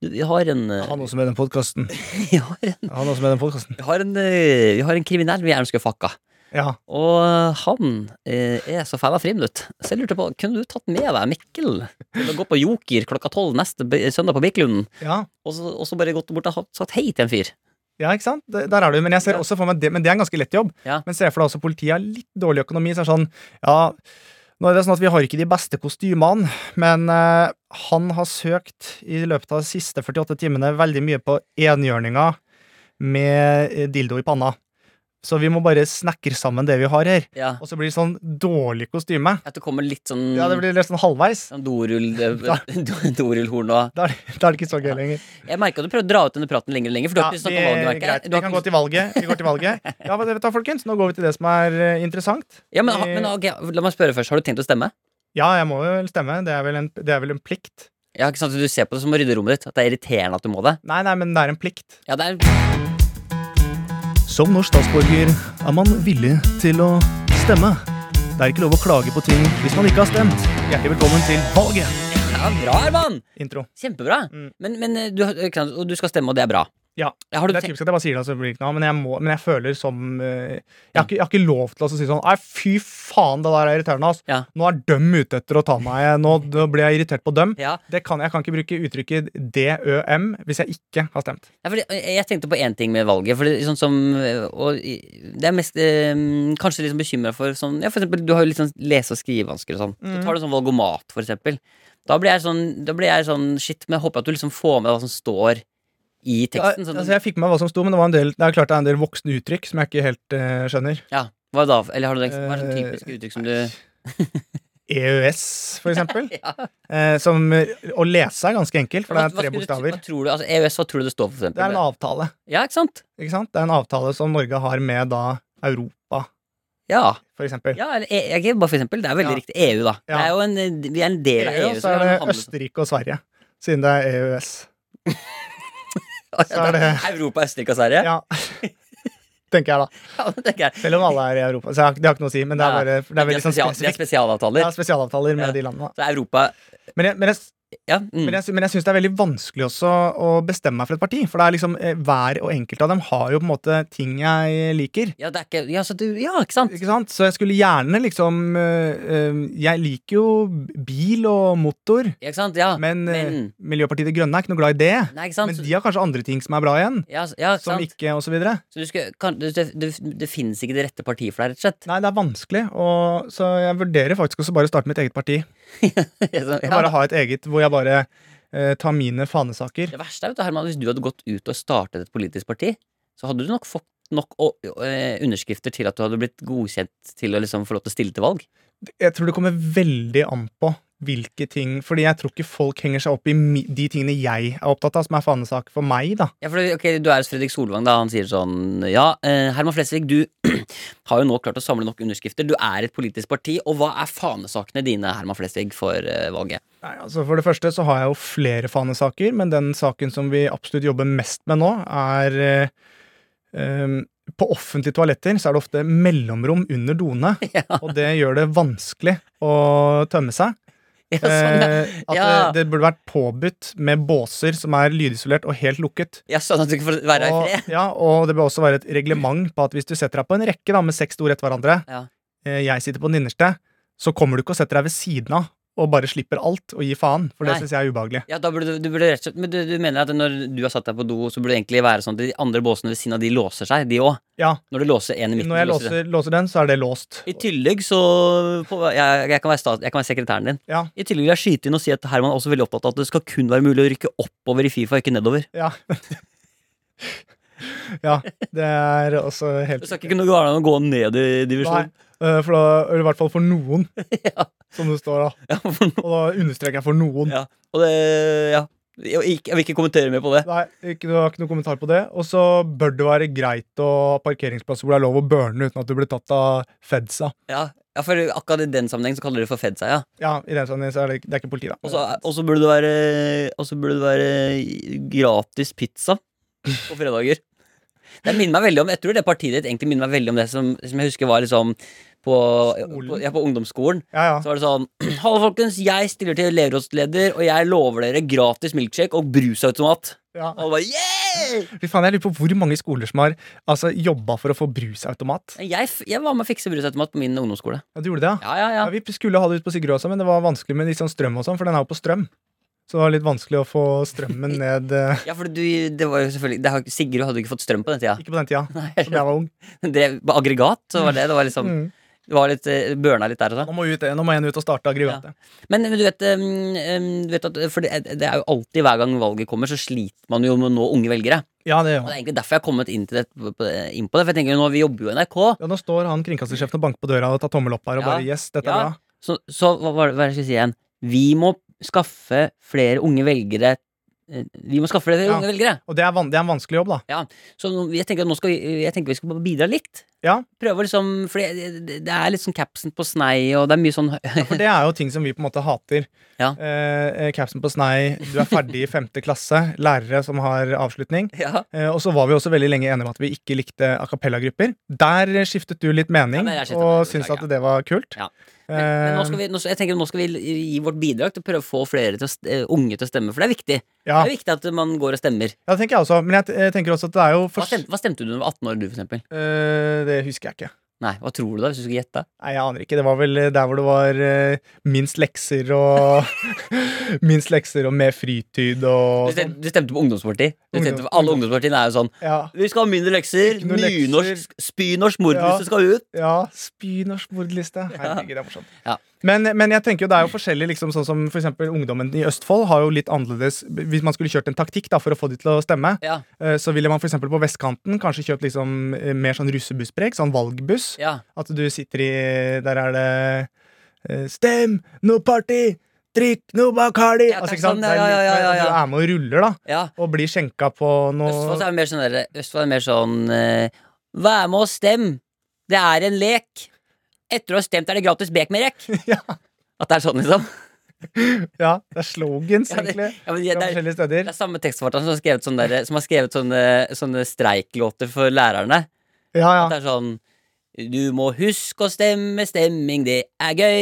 Du, vi har en eh, Han også med den podkasten. Vi har en, Han også med den podkasten. vi har en, eh, vi har en kriminell vi gjerne skulle fucka. Ja. Og han eh, er så fan av friminutt, så jeg lurte på Kunne du tatt med deg Mikkel til å gå på Joker klokka tolv neste be- søndag på Birkelunden? ja. Og så, og så bare gått bort og sagt hei til en fyr. Ja, ikke sant? Der der er du. Men jeg ser Ja. også for meg det, men det er en ganske lett jobb. Ja. Men ser for deg også politiet har litt dårlig økonomi. Så er det sånn, ja, nå er det sånn at vi har ikke de beste kostymene, men eh, han har søkt i løpet av de siste 48 timene veldig mye på enhjørninger med eh, dildo i panna. Så vi må bare snekre sammen det vi har her. Ja. Og så blir det sånn dårlig kostyme. At det kommer litt sånn Ja, det blir litt sånn halvveis. sånn dorull dorullhorn og Da er det, da er det ikke så gøy lenger. Jeg merka du prøvde å dra ut denne praten lenger og lenger, for du har Ja, ikke snakka om valget. vi, merker jeg. greit. Du vi har kan ikke- gå til valget. Vi går til valget. Ja, men vet du hva, folkens, Nå går vi til det som er eh, interessant. Ja, men, ha- men ok, La meg spørre først. Har du tenkt å stemme? Ja, jeg må vel stemme. Det er vel en, det er vel en plikt. Ja, ikke sant, Du ser på det som å rydde rommet ditt. At det er irriterende at du må det. Nei, nei, men det er en plikt. Ja, det er Som norsk statsborger er man villig til å stemme. Det er ikke lov å klage på ting hvis man ikke har stemt. Hjertelig velkommen til valget. ja, bra, Herman! Intro. Kjempebra. Mm. Men, men eh, du, har- ikke sant, og du skal stemme, og det er bra. Ja, Har du Det er tenkt typisk at jeg bare sier det, og så blir det ikke noe av, men jeg, må, men jeg føler som eh, jeg, har ikke, jeg har ikke lov til å si sånn Nei, fy faen, det der er irriterende, ass. Ja. Nå er døm ute etter å ta meg. Nå, nå ble jeg irritert på døm. ja. Det kan, jeg kan ikke bruke uttrykket DØM hvis jeg ikke har stemt. Ja, fordi jeg jeg tenkte på én ting med valget. Fordi sånn som, øh, og i- det er mest eh, kanskje liksom bekymra for sånn ja, for eksempel, Du har jo litt sånn lese- og skrivevansker og sånn. Mm. Så tar du sånn valgomat, for eksempel. Da blir jeg sånn, da blir jeg sånn shit, men jeg håper at du liksom får med deg hva som står i teksten. Ja, Sånn, altså jeg fikk med meg hva som sto, men det, var en del, det er klart det er en del voksne uttrykk som jeg ikke helt eh, skjønner. ja, Hva er da, eller har du noen, hva er sånn Eh, typisk uttrykk som du EØS, E for eksempel. eh, som å lese er ganske enkelt, for det Hva- hva er tre skulle du- bokstaver. Hva tror du, altså EØS, hva tror du det står for, for Det er en eksempel? avtale. Ja, ikke sant? Ikke sant? Det er en avtale som Norge har med da Europa, Ja. for eksempel. ja eller, E- ikke bare for eksempel. Det er veldig Ja. riktig. EU, da. Ja. Det er jo en, eh, vi er en del av EU, EU. vi så er har det en handels- Østerrike og Sverige, siden det er E EØS. Ja, er det det- er Europa, Østerrike og Sverige? Ja. Ja. Tenker jeg, da. det tenker jeg. Selv om alle er i Europa. Så jeg har- det har ikke noe å si, men det er Nei, bare det er De veldig er, sånn spesial, de er spesifikt. altså- spesialavtaler. Det er spesialavtaler med Ja. de landene. Så Europa Men jeg, men jeg Ja. Mm. Men jeg, sy- men jeg syns det er veldig vanskelig også å bestemme meg for et parti. For det er liksom, eh, hver og enkelt av dem har jo på en måte ting jeg liker. ja, det er ikke, ja, så du, ja, ikke sant? Ikke sant? Så jeg skulle gjerne liksom eh, eh, Jeg liker jo bil og motor, Ja, Ikke sant? Ja. men, eh, Men- Miljøpartiet De Grønne er ikke noe glad i det. Nei, ikke sant? Men Så- de har kanskje andre ting som er bra igjen. ja, s- ja, ikke Som sant? ikke, og så videre. Så du skulle, kan, du, det, det, det finnes ikke det rette partiet for deg, rett og slett? Nei, det er vanskelig, og, så jeg vurderer faktisk også bare å starte mitt eget parti. Ja, Jeg bare ha et eget hvor jeg bare eh, tar mine fanesaker. Det verste er, vet du, Herman, hvis du hadde gått ut og startet et politisk parti, så hadde du nok fått nok å- eh, underskrifter til at du hadde blitt godkjent til å liksom få lov til å stille til valg. Jeg tror det kommer veldig an på hvilke ting Fordi jeg tror ikke folk henger seg opp i mi, de tingene jeg er opptatt av, som er fanesak for meg, da. Ja, for det- ok, Du er hos Fredrik Solvang, da. Han sier sånn Ja, eh, Herman Flesvig, du har jo nå klart å samle nok underskrifter. Du er et politisk parti. Og hva er fanesakene dine, Herman Flesvig, for eh, valget? Nei, altså For det første så har jeg jo flere fanesaker, men den saken som vi absolutt jobber mest med nå, er eh, em, På offentlige toaletter så er det ofte mellomrom under doene, og det gjør det vanskelig å tømme seg. Ja, sånn, ja. Eh, at Ja. det, det burde vært påbudt med båser som er lydisolert og helt lukket. ja, sånn at du ikke får være i Og, fred. ja, og det bør også være et reglement på at hvis du setter deg på en rekke da, med seks ord etter hverandre, Ja. eh, jeg sitter på den innerste, så kommer du ikke og setter deg ved siden av og bare slipper alt og gir faen, for det Nei. syns jeg er ubehagelig. Ja, da burde du, du burde rett og slett Men du, du mener at når du har satt deg på do, så burde det egentlig være sånn at de andre båsene ved siden av de låser seg, de òg? Ja. Når du låser en i midten? Når jeg så låser du- låser, låser den, så er det låst. I tillegg så på, jeg, jeg, kan være stat, jeg kan være sekretæren din. Ja. I tillegg vil jeg skyte inn og si at Herman er også veldig opptatt av at det skal kun være mulig å rykke oppover i Fifa, ikke nedover. Ja. ja. Det er også helt Det skal ikke kunne gå an å gå ned i Nei, divisjon. eh, for da, eller i hvert fall for noen, som det står da. Ja, for nå- Og da understreker jeg for noen. ja. Og det Ja. Jeg vil ikke, jeg vil ikke kommentere mer på det. Nei, ikke, du har ikke noen kommentar på det. Og så bør det være greit å ha parkeringsplasser hvor det er lov å burne uten at du blir tatt av fedsa. Ja, ja for akkurat i den sammenheng så kaller de det for fed seg, ja. Ja, i den sammenheng så er det, det er ikke politi, da. Og så og så burde det være Og så burde det være gratis pizza på fredager. Det minner meg veldig om Jeg tror det partiet ditt egentlig minner meg veldig om det som, som jeg husker var liksom på, på, Skolen. ja, på ungdomsskolen. ja, ja. Så var det sånn Hallo, folkens. Jeg stiller til elevrådsleder, og jeg lover dere gratis milkshake og brusautomat. Og ja. alle bare yeah! Fy faen, jeg lurer på hvor mange skoler som har altså, jobba for å få brusautomat. Men Jeg, f- jeg var med å fikse brusautomat på min ungdomsskole. Ja, du gjorde det, ja? Ja, ja, ja. ja? Vi skulle ha det ut på Sigrud også, men det var vanskelig med litt sånn strøm og sånn, for den er jo på strøm. Så det var litt vanskelig å få strømmen ned eh, Ja, for du, det var jo selvfølgelig det, har- Sigurd hadde jo ikke fått strøm på den tida. Ikke på den tida, som Nei, jeg var ung. Drev på aggregat, så var det det var liksom Mm. Det var litt eh, Børna litt der og da. Nå må, ut, eh, nå må en ut og starte aggregatet. Men men du vet, em, em, du vet at For det, det er jo alltid hver gang valget kommer, så sliter man jo med å nå unge velgere. Ja, det Og gjør Det man. er egentlig derfor jeg har kommet inn, til det, på- på- inn på det. For jeg tenker jo nå, Vi jobber jo i NRK. Ja, nå står han kringkastersjefen og banker på døra og tar tommel opp her og Ja. bare Yes, dette Ja. er bra. Så, så hva, var det- hva er det jeg skal si igjen? Vi må skaffe flere unge velgere eh, Vi må skaffe flere Ja. unge velgere. Og det er, van det er en vanskelig jobb, da. Så nå- jeg tenker, at nå skal, vi- jeg tenker vi skal bare bidra litt. Ja. Prøve å liksom For det, det- det er litt sånn capsen på snei, og det er mye sånn For det er jo ting som vi på en måte hater. Ja. Eh, eh, capsen på snei, du er ferdig i femte klasse, lærere som har avslutning. Ja. Eh, og så var vi også veldig lenge enige om at vi ikke likte a cappella-grupper. Der eh, skiftet du litt mening Ja, men jeg skiftet mening, og syntes beklager. at det var kult. Ja. Men, men nå skal vi, nå, jeg tenker nå skal vi gi vårt bidrag til å prøve å få flere til å, st- eh, unge til å stemme, for det er viktig. Eh, ja. Det er viktig at man går og stemmer. ja, det tenker jeg også. Men jeg, t- jeg tenker også at det er jo Hva for... stemte, hva stemte du da du var 18 år, du, for eksempel? eh, Det husker jeg ikke. Nei, hva tror du da, hvis du skulle gjette? Nei, jeg aner ikke. Det var vel eh, der hvor det var eh, minst lekser og Minst lekser og mer fritid Du og sånn. stemte, du stemte på ungdomsparti. Du Ungdom- stemte på, alle ungdomspartiene er jo sånn Ja. Vi skal ha mindre lekser. Ikke noe lekser. Nynorsk, spynorsk, mordlyset Ja. skal ut. Ja, spynorsk mordliste. Herregud, det er morsomt. Ja. Men, men jeg tenker jo det er jo forskjellig liksom, sånn som for eksempel ungdommen i Østfold har jo litt annerledes Hvis man skulle kjørt en taktikk da, for å få de til å stemme, Ja, eh, så ville man for eksempel på vestkanten kanskje kjøpt liksom, eh, mer sånn russebusspreg, sånn valgbuss. ja. At du sitter i Der er det eh, Stem! No party! Drikk no Bacardi! Ja, altså, takk ikke sant? sånn, ja, ja, ja, ja, ja. Du er med og ruller, da. ja. Og blir skjenka på Østfold noe så er det mer sånn derre- Østfold er mer sånn eh, Vær med og stem! Det er en lek! Etter å ha stemt er det gratis bekmerek! Ja. At det er sånn, liksom. Ja, det er slogans, Ja, det, egentlig. ja, men, Fra det, er, forskjellige det steder. er samme tekstforfatteren som har skrevet, sånne, der, som har skrevet sånne, sånne streiklåter for lærerne. Ja, ja. At det er sånn Du må huske å stemme, stemming, det er gøy.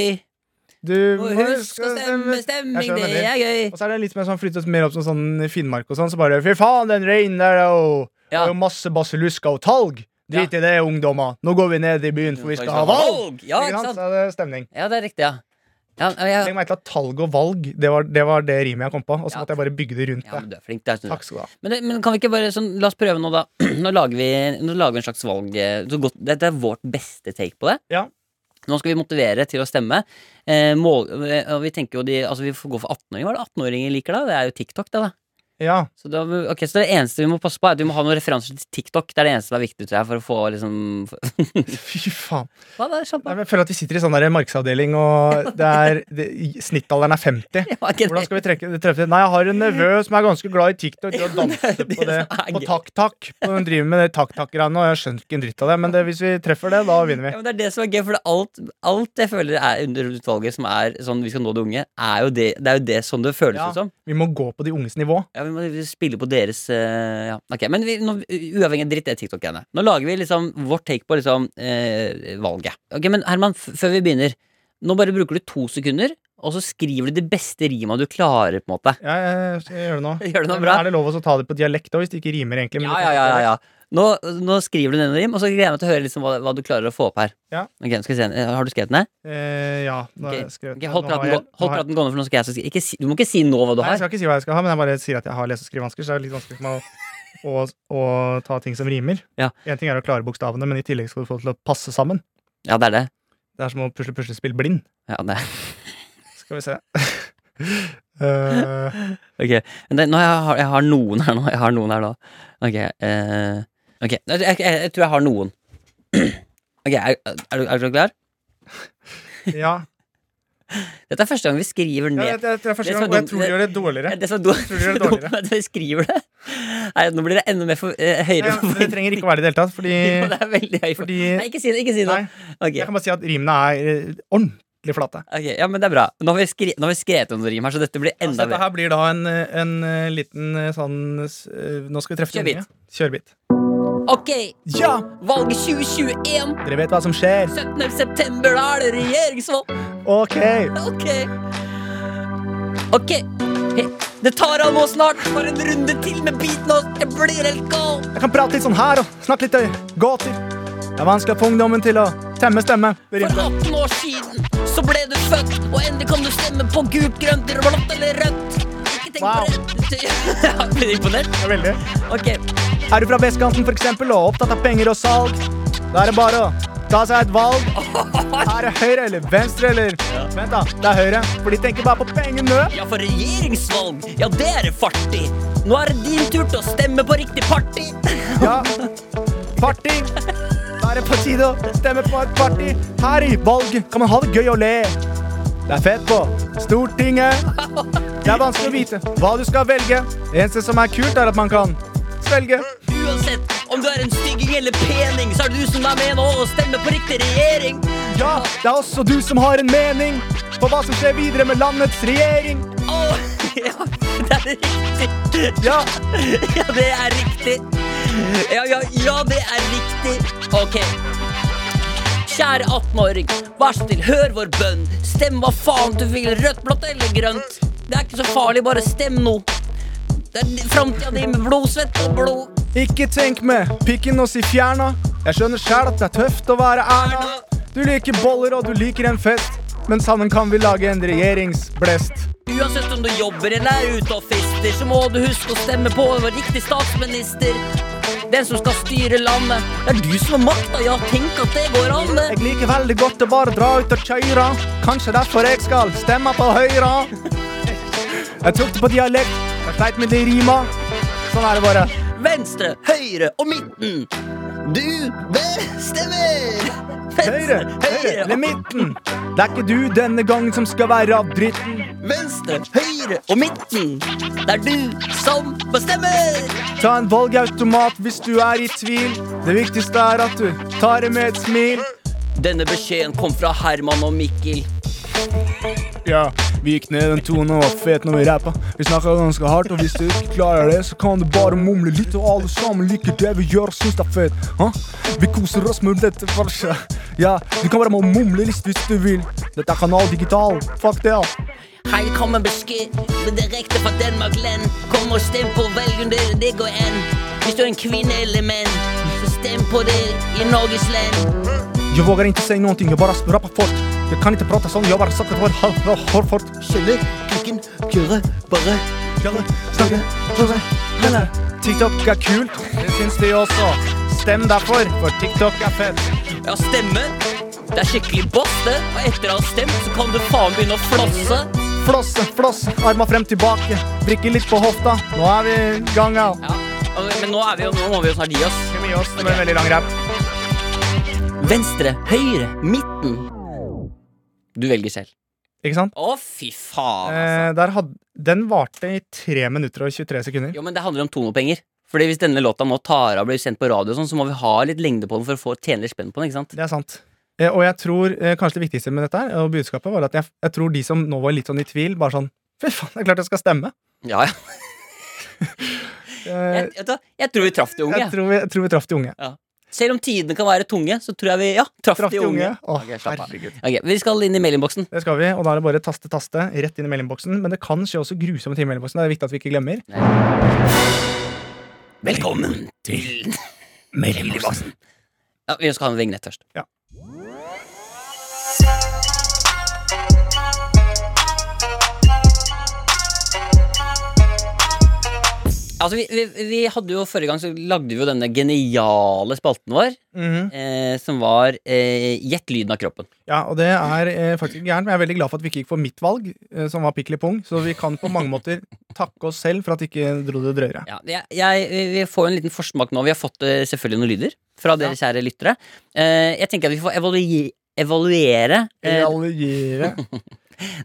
Du Må huske å stemme, Jeg stemming, skjønner det er gøy. Og så er det litt mer sånn flyttet mer opp som sånn Finnmark og sånn, så bare Fy faen, den reinen der, og Det Ja. er jo masse basilluska og talg. Drit i det, ungdommer. Nå går vi ned i byen, for vi skal ha valg! sånn Ja, ikke sant? Så er det stemning. Ja, det er riktig, ja. Ja, ja, Legg merke til at talg og valg, det var det, var det rimet jeg kom på. Og så Ja. måtte jeg bare bygge det rundt ja det. men du er flink. Det er sånn. Takk skal du ha. Men, det- men kan vi ikke bare sånn, La oss prøve nå, da. Nå lager vi, nå lager vi en slags valg. eh, Så godt, dette er vårt beste take på det. Ja. Nå skal vi motivere til å stemme. Eh, mål, eh, og vi tenker jo de, altså vi får gå for 18-åringer. Hva er det 18-åringer liker, da? Det er jo TikTok, det, da. Ja. Så, da ok, så det eneste vi må passe på, er at vi må ha noen referanser til TikTok. Det er det eneste som er viktig tror jeg, for å få liksom for, Fy faen. Hva da, Sjampa? Nei, men Jeg føler at vi sitter i sånn der markedsavdeling, og det er, det, snittalderen er 50. Ja, ikke Hvordan det. skal vi trekke, treffe det? Nei, jeg har en nevø som er ganske glad i TikTok og danser det på det. som er På gøy. takk-takk. Hun driver med det takk-takk-greiene, og jeg skjønner ikke en dritt av det. Men det, hvis vi treffer det, da vinner Ja, vi. men det er det som er gøy, for det er alt, alt jeg føler er under utvalget som er sånn vi skal nå de unge, er jo det, det, er jo det som det føles Ja. ut som. Vi må gå på de unges nivå. Ja, vi må vi spille på deres eh, ja. Ok, Men vi, nå, uavhengig av dritt, det er TikTok-greiene. Nå lager vi liksom vårt take på liksom eh, valget. Ok, Men Herman, f før vi begynner. Nå bare bruker du to sekunder, og så skriver du det beste rima du klarer, på en måte. Ja, jeg, jeg gjør det nå. Gjør det nå Men bra? Er det lov å så ta det på dialekt òg, hvis det ikke rimer, egentlig? men Ja, det ja, kan- ja, ja, ja. Nå, nå skriver du ned en rim, og så gleder jeg meg til å høre liksom hva, hva du klarer å få opp her. Ja. Ok, skal vi se, eh, Har du skrevet den ned? Eh, ja, nå har jeg Ok, skrevet ok, hold nå har praten, jeg- gå- hold nå har jeg- praten gående, for nå skal jeg så si- ikke si, Du må ikke si nå hva du Nei, jeg har. skal ikke si hva jeg skal ha, men jeg bare sier at jeg har lese- og skrivevansker, så det er litt vanskelig for meg å, å, å ta ting som rimer. Ja. En ting er å klare bokstavene, men i tillegg skal du få det til å passe sammen. Ja, det er det. Det er som å pusle puslespill blind. Ja, det. er- Skal vi se. Eh, Ok, men det, nå har jeg, har- jeg har noen her nå. Jeg har noen her nå. Ok, eh, ok. Jeg, jeg, jeg, jeg tror jeg har noen. Ok, er, er, du, er du klar? ja. Dette er første gang vi skriver ja ned jeg, jeg, tror det er første Det er så gang, og jeg dumt. tror de gjør det dårligere. Ja, Det som er dumt, Tror du det er dumt dårligere? med at vi skriver det, er at nå blir det enda mer for, eh, høyere Ja, men det forventning. trenger ikke å være det i det hele tatt, fordi, Jo, Det er veldig høy for... fordi Nei, ikke si det, ikke si det. Nei, Ok, jeg kan bare si at rimene er eh, ordentlig flate. ok, ja, men det er bra. Nå har vi, skri nå har vi skrevet noen rim her, så dette blir Altså, enda dette bedre. her blir da en, eh, en eh, liten eh, sånn eh, Nå skal vi treffe de Kjørbit. unge. Kjørbit. Ok, Ja! valget 2021, Dere vet hva som skjer. 17. september, da er det regjeringsvalg. Ok! Ok. Ok. He- Det tar av nå snart. Bare en runde til med biten oss. Jeg blir helt gal. Jeg kan prate litt sånn her og snakke litt eh, gåter. Det er vanskelig å få ungdommen til å temme stemme. Det For rimer. 18 år siden så ble du født, og endelig kan du stemme på gult, grønt, blått eller rødt. Ikke tenk Wow. på det. Ja, Blir du imponert? Ja, veldig. Ok. Er du fra vestkanten for eksempel, og opptatt av penger og salg? Da er det bare å ta seg et valg. Er det høyre eller venstre eller Vent, da. Det er høyre. For de tenker bare på pengene. Ja, for regjeringsvalg, ja, det er det fartig. Nå er det din tur til å stemme på riktig parti. Ja. Party. Da er det på tide å stemme på et party. Her i valget kan man ha det gøy og le. Det er fett på Stortinget. Det er vanskelig å vite hva du skal velge. Det eneste som er kult, er at man kan svelge. Uansett om du er en stygging eller pening, så er det du som er med nå og stemmer på riktig regjering. Ja, det er også du som har en mening på hva som skjer videre med landets regjering. Åh, ja, det er riktig. Ja, Ja, det er riktig. Ja, ja, ja, det er riktig. Ok. Kjære 18-åring, vær så snill, hør vår bønn. Stem hva faen du vil, rødt, blått eller grønt. Det er ikke så farlig, bare stem nå. Det er framtida di med blod, svett og blod. Ikke tenk med pikken og si fjerna. Jeg skjønner sjæl at det er tøft å være Erna. Du liker boller og du liker en fest, men sammen kan vi lage en regjeringsblest. Uansett om du jobber eller er ute og fister, så må du huske å stemme på vår riktige statsminister. Den som skal styre landet. Det er du som har makta, ja. Tenk at det går an, det. Jeg liker veldig godt å bare dra ut og kjøre. Kanskje derfor jeg skal stemme på Høyre. Jeg tok det på dialekt, jeg sleit med det i rima. Sånn er det bare. Venstre, høyre og midten. Du bestemmer! Høyre, høyre eller midten. Det er ikke du denne gangen som skal være av dritten. venstre, høyre og midten. Det er du som bestemmer! Ta en valgautomat hvis du er i tvil. Det viktigste er at du tar det med et smil. Denne beskjeden kom fra Herman og Mikkel. Ja, vi gikk ned en tone og var fet når vi rappa. Vi snakka ganske hardt, og hvis du ikke klarer det, så kan du bare mumle litt, og alle sammen liker det vi gjør og syns det er fett. Hå? Vi koser oss med dette verset. Ja, du kan bare må mumle litt hvis du vil. Dette er Kanal Digital. Fuck det, ja. Her kommer beskjed direkte fra Danmark-land. Kom og stem på velg om det, det går an. Hvis du er en kvinne eller mann, så stem på det i Norges land. Jeg våger ikke si noe, jeg bare rapper fort. Jeg kan ikke prate sånn, jeg bare satte på et hårfort. Skjønner klikken, kjøre, bare. Snakke, prøve, helle. TikTok er kult. Det syns de også. Stem derfor, for TikTok er fett. Ja, stemme. Det er skikkelig boss, det. Og etter å ha stemt, så kan du faen begynne å flosse. Flosse, flosse, arma frem tilbake. Vrikke litt på hofta. Nå er vi i gang, ja. Ja, og- men nå, er vi, jo- nå må vi jo snart gi oss. Skal vi gi oss med en veldig lang rap? Venstre, høyre, midten. Du velger selv. Ikke sant? Å, fy faen, altså. Eh, der hadde, den varte i 3 minutter og 23 sekunder. Jo, men det handler om tonopenger. Fordi hvis denne låta nå tar av og blir kjent på radio, og sånn, så må vi ha litt lengde på den for å få tjene litt spenn på den. ikke sant? Det er sant. Eh, og jeg tror eh, kanskje det viktigste med dette her, og budskapet, var at jeg, jeg tror de som nå var litt sånn i tvil, bare sånn Fy faen, det er klart jeg skal stemme. Ja, ja. Eh, Jeg, vet du hva? jeg tror vi traff de unge. jeg, jeg. tror vi, jeg tror vi traff de unge. Selv om tidene kan være tunge, så tror jeg vi ja, traff Traff de unge. Å, Ok, slapp av. herregud. Ok, Vi skal inn i mailinnboksen. Det skal vi, og da er det bare taste, taste, rett inn i meldingboksen. Men det kan skje også grusomme ting i meldingboksen. Det er viktig at vi ikke glemmer. Velkommen til mailinnboksen. Ja, vi skal ha en vignett først. Ja. Altså, vi, vi, vi hadde jo Forrige gang så lagde vi jo denne geniale spalten vår, Mhm. eh, som var eh, 'Gjett lyden av kroppen'. Ja, og det er eh, faktisk ikke gærent, men jeg er veldig glad for at vi ikke gikk for mitt valg, eh, som var Pikli Pung, så vi kan på mange måter takke oss selv for at ikke dro det drøyere. Ja, jeg, jeg, vi- vi får en liten forsmak nå. Vi har fått eh, selvfølgelig noen lyder fra dere kjære lyttere. Eh, jeg tenker at vi får evaluere, evaluere eh, Evaluere.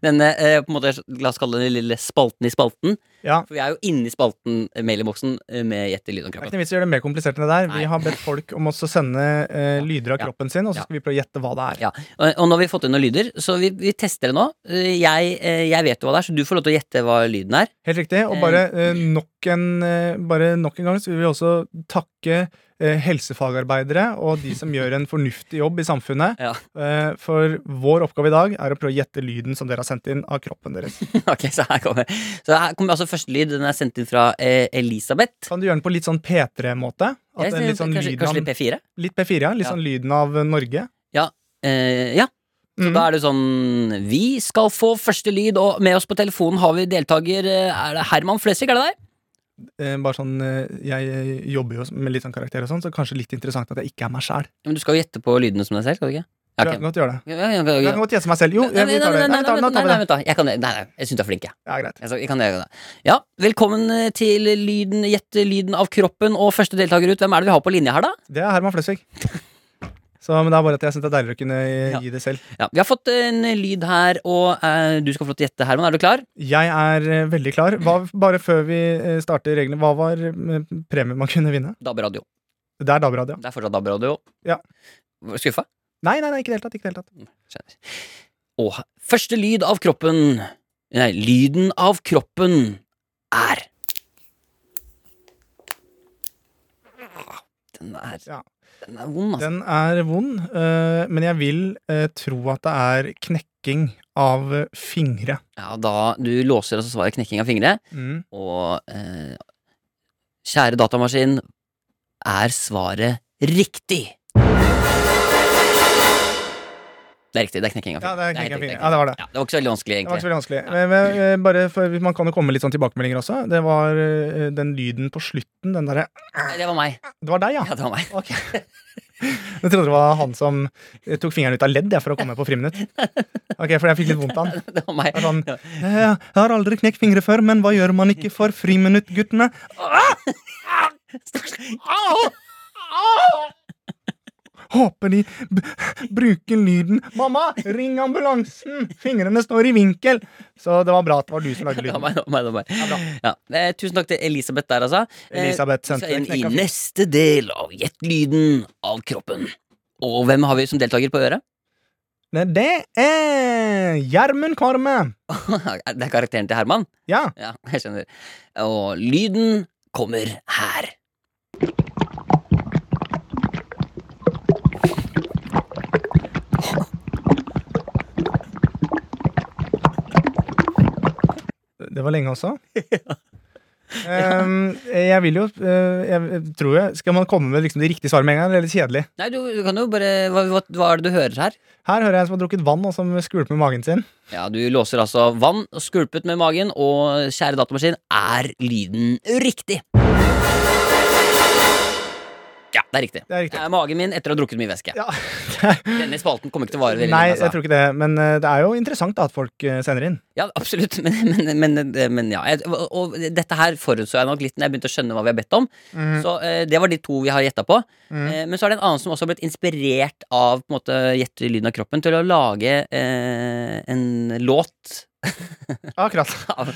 denne eh, på en måte, La oss kalle det den lille spalten i spalten. Ja. For vi er jo inne i spalten, eh, mailinnboksen, eh, med Gjett i lyd om Det er kroppen. ikke noe vits i å gjøre det mer komplisert enn det der. Nei. Vi har bedt folk om også å sende eh, lyder av Ja. kroppen sin, og så Ja. skal vi prøve å gjette hva det er. Ja, og, og nå har vi fått inn noen lyder, så vi, vi tester det nå. Eh, Jeg, eh, jeg vet jo hva det er, så du får lov til å gjette hva lyden er. Helt riktig. Og bare, eh, nok en, eh, bare nok en gang så vil vi også takke eh, helsefagarbeidere og de som gjør en fornuftig jobb i samfunnet. Ja. Eh, for vår oppgave i dag er å prøve å gjette lyden som dere har sendt inn av kroppen deres. ok, Så her kommer Så her kommer altså første lyd. Den er sendt inn fra eh, Elisabeth. Kan du gjøre den på litt sånn P3-måte? Jeg At den litt ser- sånn kanskje, lyden kanskje av litt P4? Litt P4, ja. Litt Ja. sånn lyden av eh, Norge. Eh, ja. Så Mm. da er det sånn Vi skal få første lyd, og med oss på telefonen har vi deltaker eh, Er det Herman Flesvig, er det deg? Eh, bare sånn, eh, Jeg eh, jobber jo med litt sånn karakter og sånn, så kanskje litt interessant at jeg ikke er meg sjæl. Ja, Men du skal jo gjette på lydene som deg selv, skal du ikke? Ja, Jeg ok. kan godt gjøre det. Ja, ja, ok, ok. Jeg kan godt gjette meg selv. Jo, Nei, eh, vi tar det. Nei, vi tar det. nå nei, tar vi nei, det. vent da. Jeg kan det. Nei, nei, jeg syns du er flink, jeg. Ja, greit. Jeg skal- jeg kan gjøre det. Ja, velkommen eh, til lyden Gjett lyden av kroppen og første deltaker ut. Hvem er det vi har på linja her, da? Det er Herman Flesvig. Så, men det er bare at jeg syns det er deiligere å kunne eh, Ja. gi det selv. Ja, Vi har fått en lyd her, og eh, du skal få lov til å gjette, Herman. Er du klar? Jeg er eh, veldig klar. Hva, bare før vi eh, starter reglene, hva var eh, premien man kunne vinne? DAB-radio. Det er DAB-radio. Det er fortsatt DAB-radio. Ja. Var du Skuffa? Nei, nei, nei, ikke i det hele tatt. Ikke i det hele tatt. Skjønner. Og første lyd av kroppen Nei, lyden av kroppen er Ah, Den er Ja. Den er vond, altså. Den er vond, eh, men jeg vil eh, tro at det er knekking av eh, fingre. Ja, da Du låser altså svaret knekking av fingre, Mm. og eh, Kjære datamaskin, er svaret riktig? Det er riktig. Det er knekking av Ja, fingeren. det er helt knekking av riktig, fingeren. Ja, det var det. Ja, det var ikke så veldig vanskelig, Det var ikke egentlig. så veldig vanskelig. Men, men, eh, bare for, man kan jo komme med litt sånn tilbakemeldinger også. Det var eh, den lyden på slutten. Den derre Nei, Det var meg. Det var deg, ja? Ja, det var meg. Ok. Jeg trodde det var han som eh, tok fingeren ut av ledd jeg, for å komme på friminutt. Ok, For jeg fikk litt vondt av han. Det var meg. Det er sånn, «Eh, Jeg har aldri knekt fingre før, men hva gjør man ikke for friminutt, guttene? Håper de b bruker lyden 'Mamma, ring ambulansen!' Fingrene står i vinkel. Så det var bra at det var du som lagde Det var lyden. meg, det var meg, det var meg. Ja, bra. Ja. Eh, tusen takk til Elisabeth der, altså. Eh, Elisabeth vi sendte skal inn i en knekk av fingeren. neste del av Gjett lyden av kroppen. Og hvem har vi som deltaker på øret? Nei, Det er Gjermund Kvarme. Er Det er karakteren til Herman. Ja. Ja, jeg skjønner. Og lyden kommer her. Det var lenge også. Ehm, jeg vil jo eh, Jeg tror jeg Skal man komme med liksom de riktige svarene med en gang? Det er litt kjedelig. Nei, du, du kan jo bare hva, hva, hva er det du hører her? Her hører jeg en som har drukket vann, og som skvulper med magen sin. Ja, Du låser altså vann, skulpet med magen, og kjære datamaskin, er lyden riktig? Ja, det er riktig. Det er riktig. Det er magen min etter å ha drukket mye væske. Ja. Denne spalten kommer ikke til å vare veldig Nei, lenge. jeg Altså. tror ikke det. Men eh, det er jo interessant da at folk eh, sender inn. Ja, absolutt, men, men, men, men ja. Jeg- Og, og dette her forutså jeg nok litt når jeg begynte å skjønne hva vi har bedt om. Mhm. Så eh, det var de to vi har gjetta på. Eh, men så er det en annen som også har blitt inspirert av på en måte gjette lyden av kroppen til å lage eh, en låt Akkurat. av,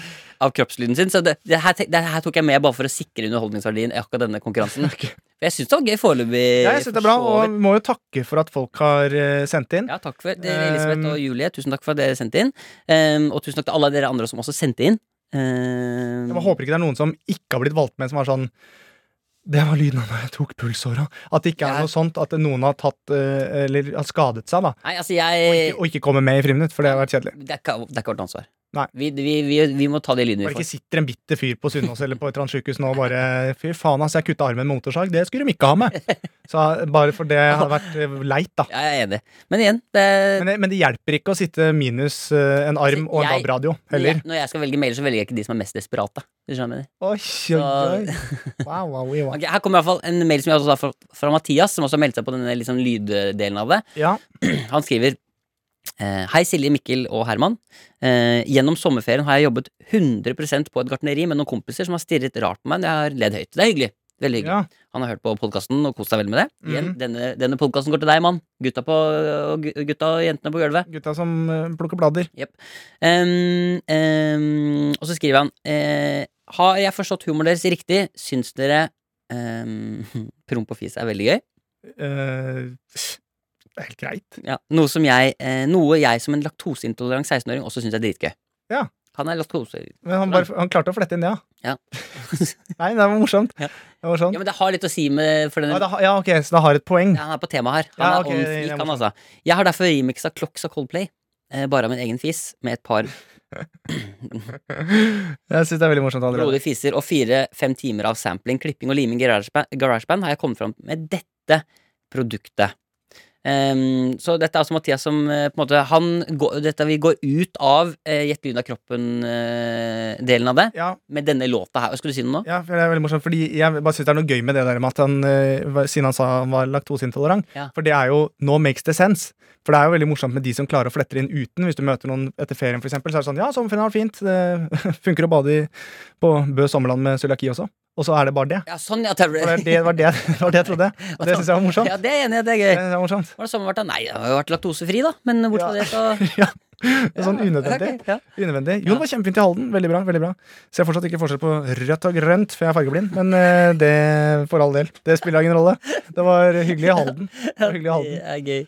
av kroppslyden sin. Så det, det, her, te- det her tok jeg med bare for å sikre underholdningsverdien i akkurat denne konkurransen. For jeg syns det var gøy foreløpig. Ja, jeg synes det er bra, for så og vidt. vi må jo takke for at folk har eh, sendt inn. ja, takk for det, Ehm. Elisabeth og Julie. Tusen takk for at dere sendte inn. Ehm, og tusen takk til alle dere andre som også sendte inn. Ehm, Jeg bare håper ikke det er noen som ikke har blitt valgt med, som var sånn det var lyden av da jeg tok pulsåra. At det ikke Ja. er noe sånt at noen har tatt eh, Eller har skadet seg, da. Nei, altså, jeg Og ikke kommer med i friminutt, for det har vært kjedelig. Det er ikke, det er ikke vårt ansvar. Nei. Vi, vi, vi, vi må ta de lydene Bare vi ikke får. sitter en bitter fyr på Sunnaas eller på et eller annet sykehus nå og bare Fy faen, ass, jeg kutta armen med motorsag. Det skulle de ikke ha med. Så bare for det hadde vært eh, leit, da. Ja, jeg er enig. Men igjen, det Men det, men det hjelper ikke å sitte minus eh, en arm og Eh. en Jeg- DAB-radio heller. Når jeg skal velge mailer, så velger jeg ikke de som er mest desperate. Hvis du skjønner hva jeg mener. Oi, oi, oi. Wow, wow, wow, wow. Ok, her kommer i hvert fall en mail som jeg også har fra, fra Mathias, som også har meldt seg på denne liksom, lyddelen av det. Ja, Han skriver eh, Hei Silje, Mikkel og Herman. Eh, Gjennom sommerferien har jeg jobbet 100 på et gartneri med noen kompiser som har stirret rart på meg når jeg har ledd høyt. Det er hyggelig. Veldig hyggelig. ja. Han har hørt på podkasten og kost seg veldig med det. Igjen, Mhm. denne, denne podkasten går til deg, mann. Gutta, på, og gu- gutta og jentene på gulvet. Gutta som eh, plukker blader. Ehm, ehm, og så skriver han eh, Har jeg forstått humoren deres riktig? Syns dere ehm, promp og fis er veldig gøy? Eh, det er helt greit. Ja, noe, som jeg, eh, noe jeg som en laktoseintolerant 16-åring også syns er dritgøy. Ja. Han er laktose... Men han, bare, han klarte å flette inn det, Ja. Nei, det var morsomt. Ja. Det var sånn. Ja, men det har litt å si med for Ja, denne, det har- ja, ok, så det har et poeng. ja, Han er på tema her. Han Ja, er ok, on det er fleek, han, morsomt. altså. Jeg har derfor remixa Clocks av Coldplay. Eh, bare av min egen fis, med et par Jeg syns det er veldig morsomt. André. blodige fiser og fire-fem timer av sampling, klipping og liming i GarageBand, GarageBand har jeg kommet fram med dette produktet. Ehm, så dette er altså Mathias som eh, på en måte Han går, dette vi går ut av eh, Gjett lyden av kroppen-delen av det Ja, med denne låta her. Skulle du si noe nå? Ja, for det er veldig morsomt, fordi jeg bare synes det er noe gøy med det der med at han, eh, var- siden han sa han var laktoseintolerant, Ja. for det er jo no makes the sense. For det er jo veldig morsomt med de som klarer å flette inn uten. Hvis du møter noen etter ferien, for eksempel, så er det sånn ja, sommerferien var fint, det funker å bade i, på Bø sommerland med cøliaki også. Og så er det bare det. Ja, sånn, ja. Det For det, er det, var det, det var det jeg trodde. Og det syns jeg var morsomt. Ja, det er jeg enig, i, det Det er gøy. synes jeg var morsomt. Har det sommeren vært da? Nei, jeg har jo vært laktosefri, da. Men bortsett fra Ja. det, så Ja, det er sånn unødvendig. Ok, ja. Unødvendig. Jo, det var kjempefint i Halden. Veldig bra. veldig bra Ser fortsatt ikke forskjell på rødt og grønt, for jeg er fargeblind. Men eh, det for all del. Det spiller ingen rolle. Det var hyggelig i Halden. Det var Det hyggelig i Halden. er gøy.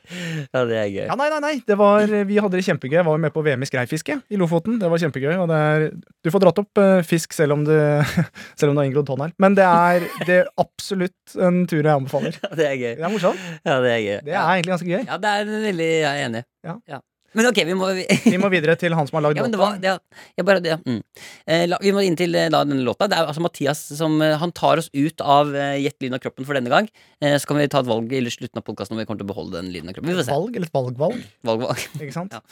Ja, det er gøy. Ja, nei, nei, nei. Det var, vi hadde det kjempegøy. Jeg var jo med på VM i skreifiske i Lofoten. Det var kjempegøy. Og det er, du får dratt opp eh, fisk selv om, du, selv om du har inngrodd tånegl. Men det er, det er absolutt en tur jeg anbefaler. Ja, det er gøy. Det er morsomt. Ja, det er gøy. Det er egentlig ganske gøy. Ja, det er veldig Jeg er enig. Ja. Men ok, vi må vi, Vi må videre til han som har lagd ja, men det låta. var, det, jeg bare, det, mm. eh, la, vi må inn til eh, da, denne låta. Det er jo altså Mathias som eh, Han tar oss ut av eh, Gjett lyden av kroppen for denne gang. Eh, så kan vi ta et valg i slutten av podkasten om vi kommer til å beholde den lyden av kroppen. Vi får se. Valg eller et valgvalg, Valg, valg. ikke sant? Ja.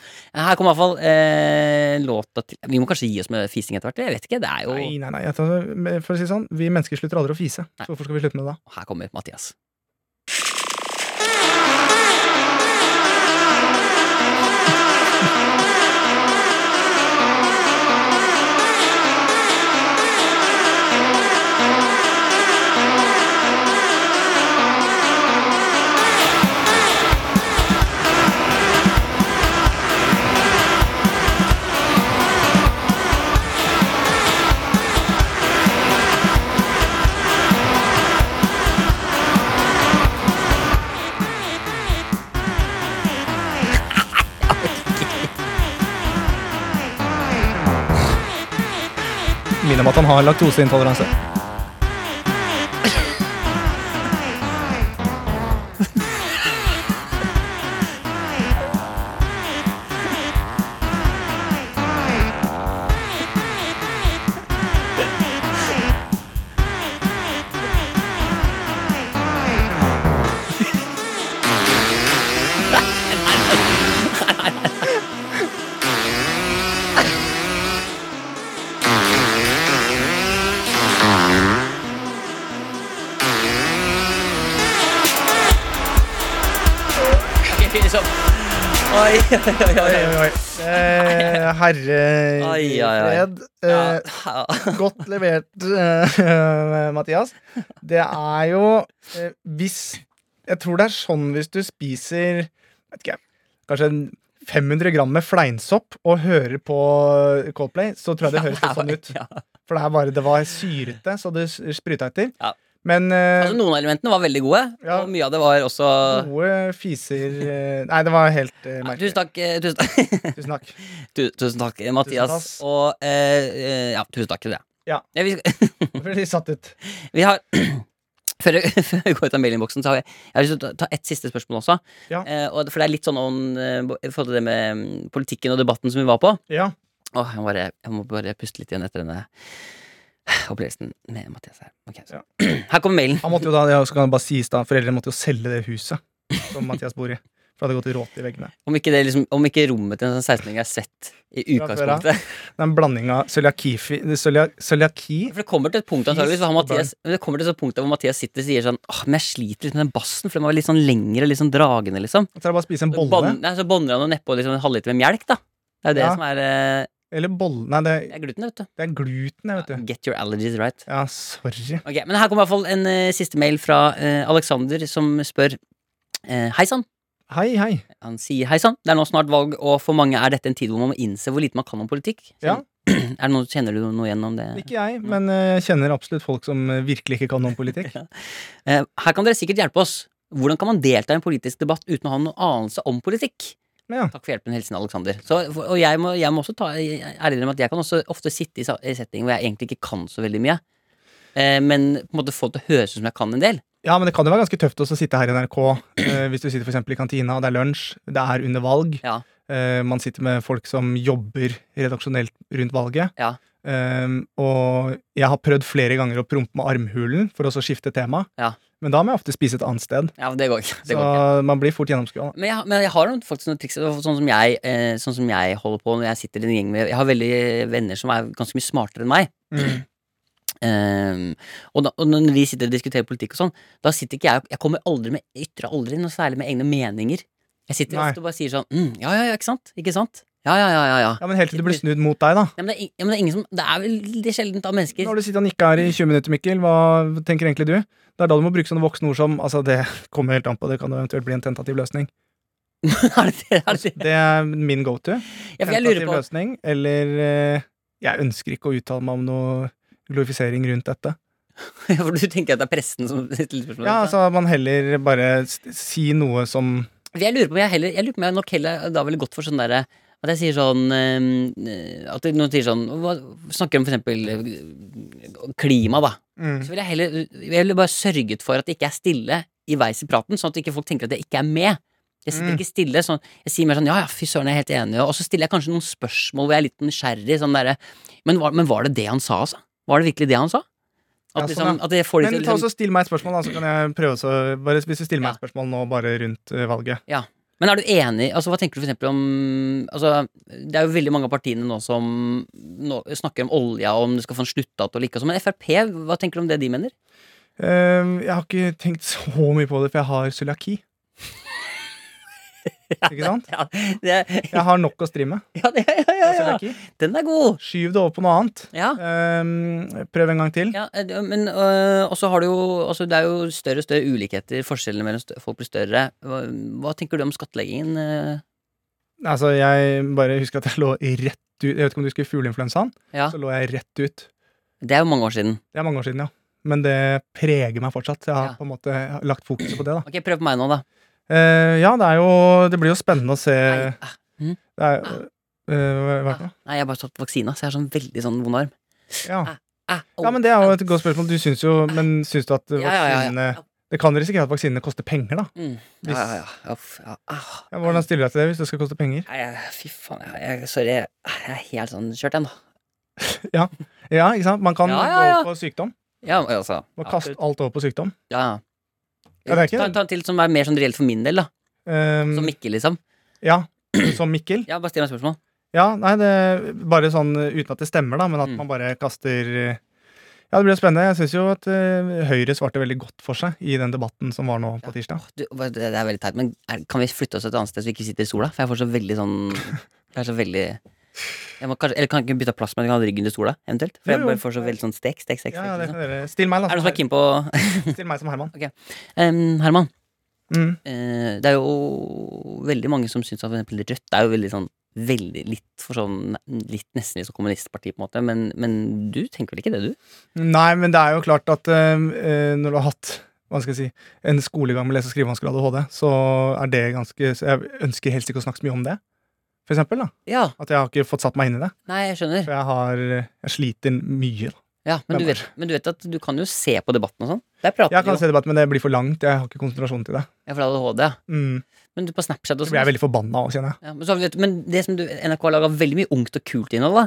Her kommer iallfall eh, låta til Vi må kanskje gi oss med fising etter hvert? Jeg vet ikke. Det er jo Nei, nei, nei. jeg tar- For å si det sånn, vi mennesker slutter aldri å fise. Så hvorfor skal vi slutte med det da? Her kommer Mathias. Minner om at han har laktoseintoleranse. Liksom. Oi, oi, oi, Oi, oi. oi, oi. Eh, herre Ai, i ai, ai. fred. Eh, Ja. Godt levert, eh, Mathias. Det er jo eh, Hvis Jeg tror det er sånn hvis du spiser vet ikke, jeg, kanskje en 500 gram med fleinsopp og hører på Coldplay, så tror jeg det høres litt sånn ut. Ja. For det, er bare, det var syrete, så det s- spruta etter. Ja. Men eh, Altså, noen av elementene var veldig gode, Ja. og mye av det var også gode fiser eh, Nei, det var helt eh, merkelig. Tusen takk, eh, tusen takk. Tusen takk. Tu- Tusen takk, Mathias. tass. Og eh, eh, ja, tusen takk til deg. Ja. vi, skal- Veldig satt ut. vi har Før jeg- før vi går ut av mailinnboksen, så har jeg, jeg har lyst til å ta ta ett siste spørsmål også. Ja. Eh, og, for det er litt sånn on, eh, bo- i forhold til det med mm, politikken og debatten som vi var på. Ja. Åh, jeg, må bare, jeg må bare puste litt igjen etter denne opplevelsen med Mathias her. Ok, så. Her kommer mailen. Han måtte jo da, det også kan bare sies da, Foreldrene måtte jo selge det huset som Mathias bor i. For det hadde gått i råt i veggene. Om ikke, det, liksom, om ikke rommet til en sånn 16-åring er svett i Fra før av. utgangspunktet. Det er en blanding av cøliaki cølia- Cøliaki For det kommer til et punkt antageligvis hvor han Fis og Mathias, men det kommer til et punkt der hvor Mathias sitter og sier sånn Åh, men jeg sliter litt med den bassen, for den var litt sånn lengre, litt sånn dragende, liksom. Så er det bare å spise en Så bolle. bånd- nei, så bånder han jo nedpå liksom, en halvliter med melk, da. Det er jo det Ja. som er, eh, Eller bolle Nei, det, det er gluten, vet du. det er gluten, jeg, vet du. Get your allergies right. Ja, sorry. Ok, Men her kommer i hvert fall en eh, siste mail fra eh, Alexander, som spør eh, Hei sann. Hei, hei. Han sier hei sann, det er nå snart valg, og for mange er dette en tid hvor man må innse hvor lite man kan om politikk. Ja. Er det noe, kjenner du noe igjen om det? Ikke jeg, men eh, jeg kjenner absolutt folk som eh, virkelig ikke kan noe om politikk. Eh, Her kan dere sikkert hjelpe oss. Hvordan kan man delta i en politisk debatt uten å ha noen anelse om politikk? Ja. Takk for hjelpen, hilsen Alexander. Så, og jeg må, jeg må også ta jeg er ærlig om at jeg kan også ofte sitte i sa- i settinger hvor jeg egentlig ikke kan så veldig mye. Eh, Men på en måte få det til å høres ut som jeg kan en del. Ja, men det kan jo være ganske tøft også å sitte her i NRK eh, hvis du sitter for eksempel i kantina, og det er lunsj, det er under valg. Ja. Eh, man sitter med folk som jobber redaksjonelt rundt valget. Ja. Ehm, og jeg har prøvd flere ganger å prompe med armhulen for å så skifte tema, Ja. men da må jeg ofte spise et annet sted. Ja, men det går ikke. Det Så går ikke. man blir fort gjennomskua. Men jeg, men jeg har noen, faktisk noen triks sånn som, jeg, eh, sånn som jeg holder på når jeg sitter i en gjeng med Jeg har veldig venner som er ganske mye smartere enn meg. Mm. Ehm, og, da, og når vi sitter og diskuterer politikk og sånn, da sitter ikke jeg Jeg kommer aldri med ytrer aldri noe særlig med egne meninger. Jeg sitter Nei. ofte og bare sier sånn mm, Ja, ja, ja, ikke sant? Ikke sant? Ja, ja, ja, ja. ja. Ja, men helt til det blir snudd mot deg, da. ja men, det er, ing- ja, men det er ingen som Det er veldig sjeldent av Nå mennesker. har du sittet og nikka her i 20 minutter, Mikkel. Hva tenker egentlig du? Det er da du må bruke sånne voksne ord som Altså, det kommer helt an på, det kan jo eventuelt bli en tentativ løsning. Altså, er det det? Er det, det? Det er min go to. Ja, for jeg lurer Tentativ på løsning, eller eh, Jeg ønsker ikke å uttale meg om noe glorifisering rundt dette. Ja, For du tenker at det er presten som stiller spørsmål? Ja, altså man heller bare s- si noe som For jeg lurer på om jeg heller Jeg lurer på om jeg nok heller da ville gått for sånn derre at jeg sier sånn eh, At noen sier sånn hva, Snakker om for eksempel eh, klima, da. mm. Så ville jeg heller Jeg ville bare sørget for at det ikke er stille i veis i praten, sånn at ikke folk tenker at jeg ikke er med. Jeg sitter ikke stille sånn Jeg sier mer sånn ja, ja, fy søren, jeg er helt enig, og så stiller jeg kanskje noen spørsmål hvor jeg er litt nysgjerrig, sånn derre men, var- men var det det han sa, altså? Var det virkelig det han sa? At, Ja, sånn, liksom, ja. at jeg får det Men til ta liksom, også still meg et spørsmål, da, så kan jeg prøve også, bare, Hvis du stiller meg Ja. et spørsmål nå, bare rundt eh, valget. Men er du enig altså Hva tenker du for eksempel om altså, Det er jo veldig mange av partiene nå som nå snakker om olja, og om du skal få en sluttdato eller ikke. og sånn, Men Frp, hva tenker du om det de mener? Ehm, jeg har ikke tenkt så mye på det, for jeg har cøliaki. Ikke sant? Ja, det, Jeg har nok å stri med. ja, Altså, det, ja, ja, ja. Cøliaki. Den er god! Skyv det over på noe annet. Ja. Ehm, prøv en gang til. Ja, eh, men øh, også har du jo altså Det er jo større og større ulikheter. Forskjellene mellom stø- folk blir større. Hva, hva tenker du om skattleggingen? eh? Altså, jeg bare husker at jeg lå rett ut Jeg vet ikke om du husker fugleinfluensaen? Ja. Så lå jeg rett ut. Det er jo mange år siden. Det er mange år siden, ja. Men det preger meg fortsatt. Jeg har Ja. på en måte lagt fokuset på det, da. Ok, Prøv på meg nå, da. Eh, ja, det er jo Det blir jo spennende å se Nei, det ah, er, eh, hva er det for noe? nei jeg har bare tatt vaksina, så jeg har sånn veldig sånn vond arm. Ja. Ah, au. ja, men det er jo et godt spørsmål. Du syns jo Men syns du at Ja, ja, ja, ja. vaksinene Det kan risikere at vaksinene koster penger, da. Mm. Hvis- Ja, ja, ja. Ja, f- ja. Ah. Ja, hvordan stiller du deg til det hvis det skal koste penger? Nei, jeg- fy faen. Jeg, jeg, sorry. Jeg jeg er helt sånn kjørt, jeg nå. Ja, ikke sant? Man kan Ja, ja, ja. gå over på sykdom. Ja, altså. Man kaster absolutt. alt over på sykdom. Ja, Ja, ja. det er ikke Ta, det. ta en til som er mer sånn reelt for min del, da. Ehm, Som Mikkel, liksom. ja, som Mikkel. Ja, bare still meg spørsmål. Ja, nei, det bare sånn uh, uten at det stemmer, da, men at Mm. man bare kaster uh, Ja, det blir spennende. Jeg syns jo at uh, Høyre svarte veldig godt for seg i den debatten som var nå på tirsdag. Du, hva- det det er veldig teit, men er, kan vi flytte oss et annet sted så vi ikke sitter i sola? For jeg får så veldig sånn Jeg er så veldig jeg må kanskje, Eller kan jeg ikke bytte plass, men jeg kan ha ryggen til sola, eventuelt? For Jo, jeg jo. bare får så veldig sånn stek, stek, stek. stek Ja, ja, det liksom. kan dere. Still meg, da. Er det noen som er som keen på Her- Still meg som Herman. Em, Herman, Mm. eh, det er jo veldig mange som syns at for eksempel Rødt er jo veldig sånn Veldig litt for sånn Litt Nesten litt sånn kommunistparti, på en måte, men, men du tenker vel ikke det, du? Nei, men det er jo klart at uh, uh, når du har hatt hva skal jeg si, en skolegang med lese- og skrivevansker og ADHD, så er det ganske så Jeg ønsker helst ikke å snakke så mye om det, for eksempel. da. Ja. At jeg har ikke fått satt meg inn i det. Nei, jeg skjønner. For jeg har Jeg sliter mye. da. Ja, men, du Men- vet, men du vet at du kan jo se på debatten og sånn? Der prater Jeg vi kan jo. se debatt, men det blir for langt. Jeg har ikke konsentrasjon til det. Ja, for det er ADHD, ja. Mm. Men du på Snapchat og Så sånn. blir jeg veldig forbanna òg, kjenner jeg. Ja, men, så, har vi- vet, du, men det som du, NRK har laga veldig mye ungt og kult innhold, da.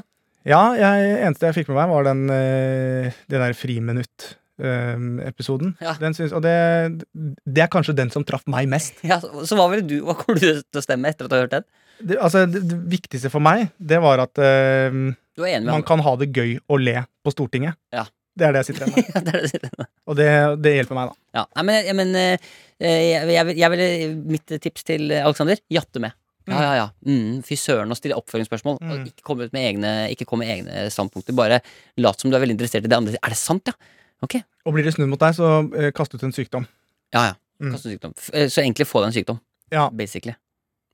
Ja, jeg, eneste jeg fikk med meg, var den, eh, det der Friminutt-episoden. Ja. Den syns- og det, det er kanskje den som traff meg mest. Ja, så, så hva ville du Hva kommer du til å stemme etter at du har hørt den? Det, altså, det, det viktigste for meg, det var at eh, Du er enig med man han? kan ha det gøy og le på Stortinget. Ja. Det er det jeg sitter igjen med. Ja, det er det du sier. Og det, det hjelper meg, da. Ja, nei, men, jeg- men eh, jeg, jeg, vil- jeg ville Mitt tips til eh, Alexander jatte med. Ja, ja, ja. Mm, fy søren, å stille oppfølgingsspørsmål. Mm. Og Ikke komme ut med egne Ikke komme med egne standpunkter. Bare lat som du er veldig interessert i det andre. Er det sant, ja? Ok. Og blir det snudd mot deg, så eh, kast ut en sykdom. Ja, ja. Mm. Kast en sykdom. F- eh, Så egentlig få deg en sykdom, Ja. basically.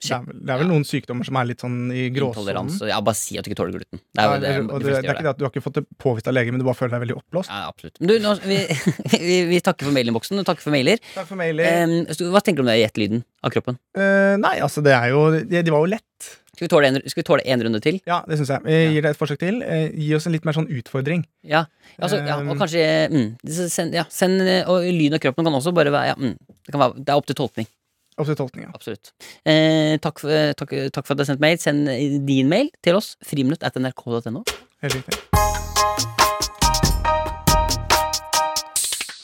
Det er, vel- det er vel noen sykdommer som er litt sånn i gråsonen. Intoleranse. Ja, bare si at du ikke tåler gluten. Det er Ja, jo det, det, de og det, fleste det gjør er ikke det at du har ikke fått det påvist av lege, men du bare føler deg veldig oppblåst. Ja, absolutt. Men du, nå, vi, vi, vi takker for mailinboksen. og Takker for mailer. Takk for mailer. Em, så hva tenker du om det gjettelyden av kroppen? Eh, nei, altså, det er jo De, de var jo lett. Skal vi tåle en, skal vi tåle en runde til? Ja, det syns jeg. Jeg gir det et forsøk til. Eh, Gi oss en litt mer sånn utfordring. Ja, altså, ja og Um, kanskje mm, så send, ja, send, eh, Og lyden av kroppen kan også bare være, ja, mm, det, kan være det er opp til tolkning. Opp til tolkning, ja. Absolutt. Eh, takk, for, eh, takk, takk for at du har sendt mail. Send eh, din mail til oss. Friminutt at nrk.no. Helt riktig.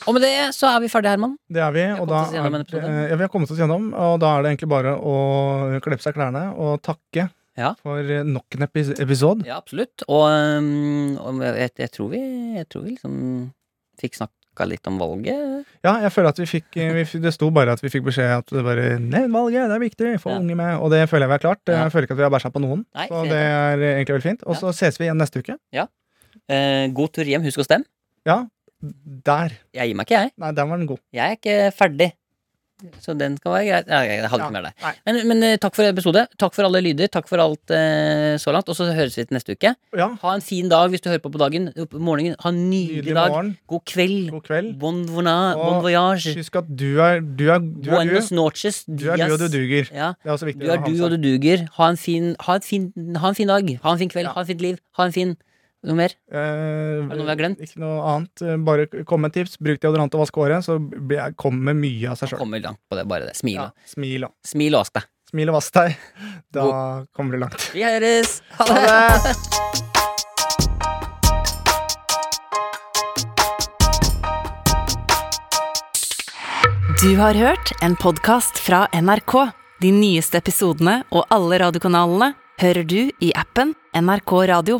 Og med det så er vi ferdige, Herman. Det er vi. har Og da kommet oss gjennom en episode. er, eh, ja, vi har kommet oss gjennom, og da er det egentlig bare å kle på seg klærne og takke Ja. for eh, nok en epis episode. Ja, absolutt. Og, mm, og jeg, jeg tror vi, jeg tror vi liksom fikk snakka litt om valget. Ja, jeg føler at vi fikk eh, vi, f- Det sto bare at vi fikk beskjed at det bare Nevn valget, det er viktig! Få Ja. unge med. Og det føler jeg vi har klart. Ja. Jeg føler ikke at vi har bæsja på noen. Nei, Så fint. det er eh, egentlig veldig fint. Og så ses vi igjen neste uke. Eh, god tur hjem. Husk å stemme. Der. Jeg gir meg ikke, jeg. Nei, der var den god. Jeg er ikke ferdig. Så den skal være greit. Nei, jeg hadde Ja, ikke mer der. nei. Men, men eh, takk for episode. Takk for alle lyder. Takk for alt eh, så langt. Og så høres vi til neste uke. Ja. Ha en fin dag hvis du hører på på dagen. opp- Morgenen. Ha en nydelig, Nydelig dag. morgen. God kveld. God kveld. Bon, vona, Og bon voyage. Husk at du er du. Er, du, er Buenos du. noches. du er du, og du duger. Ja. Det er også viktig Du er å ha du, med seg. og du duger. Ha en fin, ha en fin, ha en fin dag. Ha en fin kveld. Ja. Ha en fint liv. Ha en fin Noe mer? Eh, er det noe vi har glemt? Ikke noe annet. Eh, Bare k- kom med tips. Bruk deodorant og vask håret, så blir- kommer mye av seg sjøl. Kommer langt på det, bare det. Smil, Ja, da. smil, da. Smil og vask deg. Smil og vask deg. Da kommer du langt. Vi høres! Ha Ha det! det! Du har hørt en podkast fra NRK. De nyeste episodene og alle radiokanalene hører du i appen NRK Radio.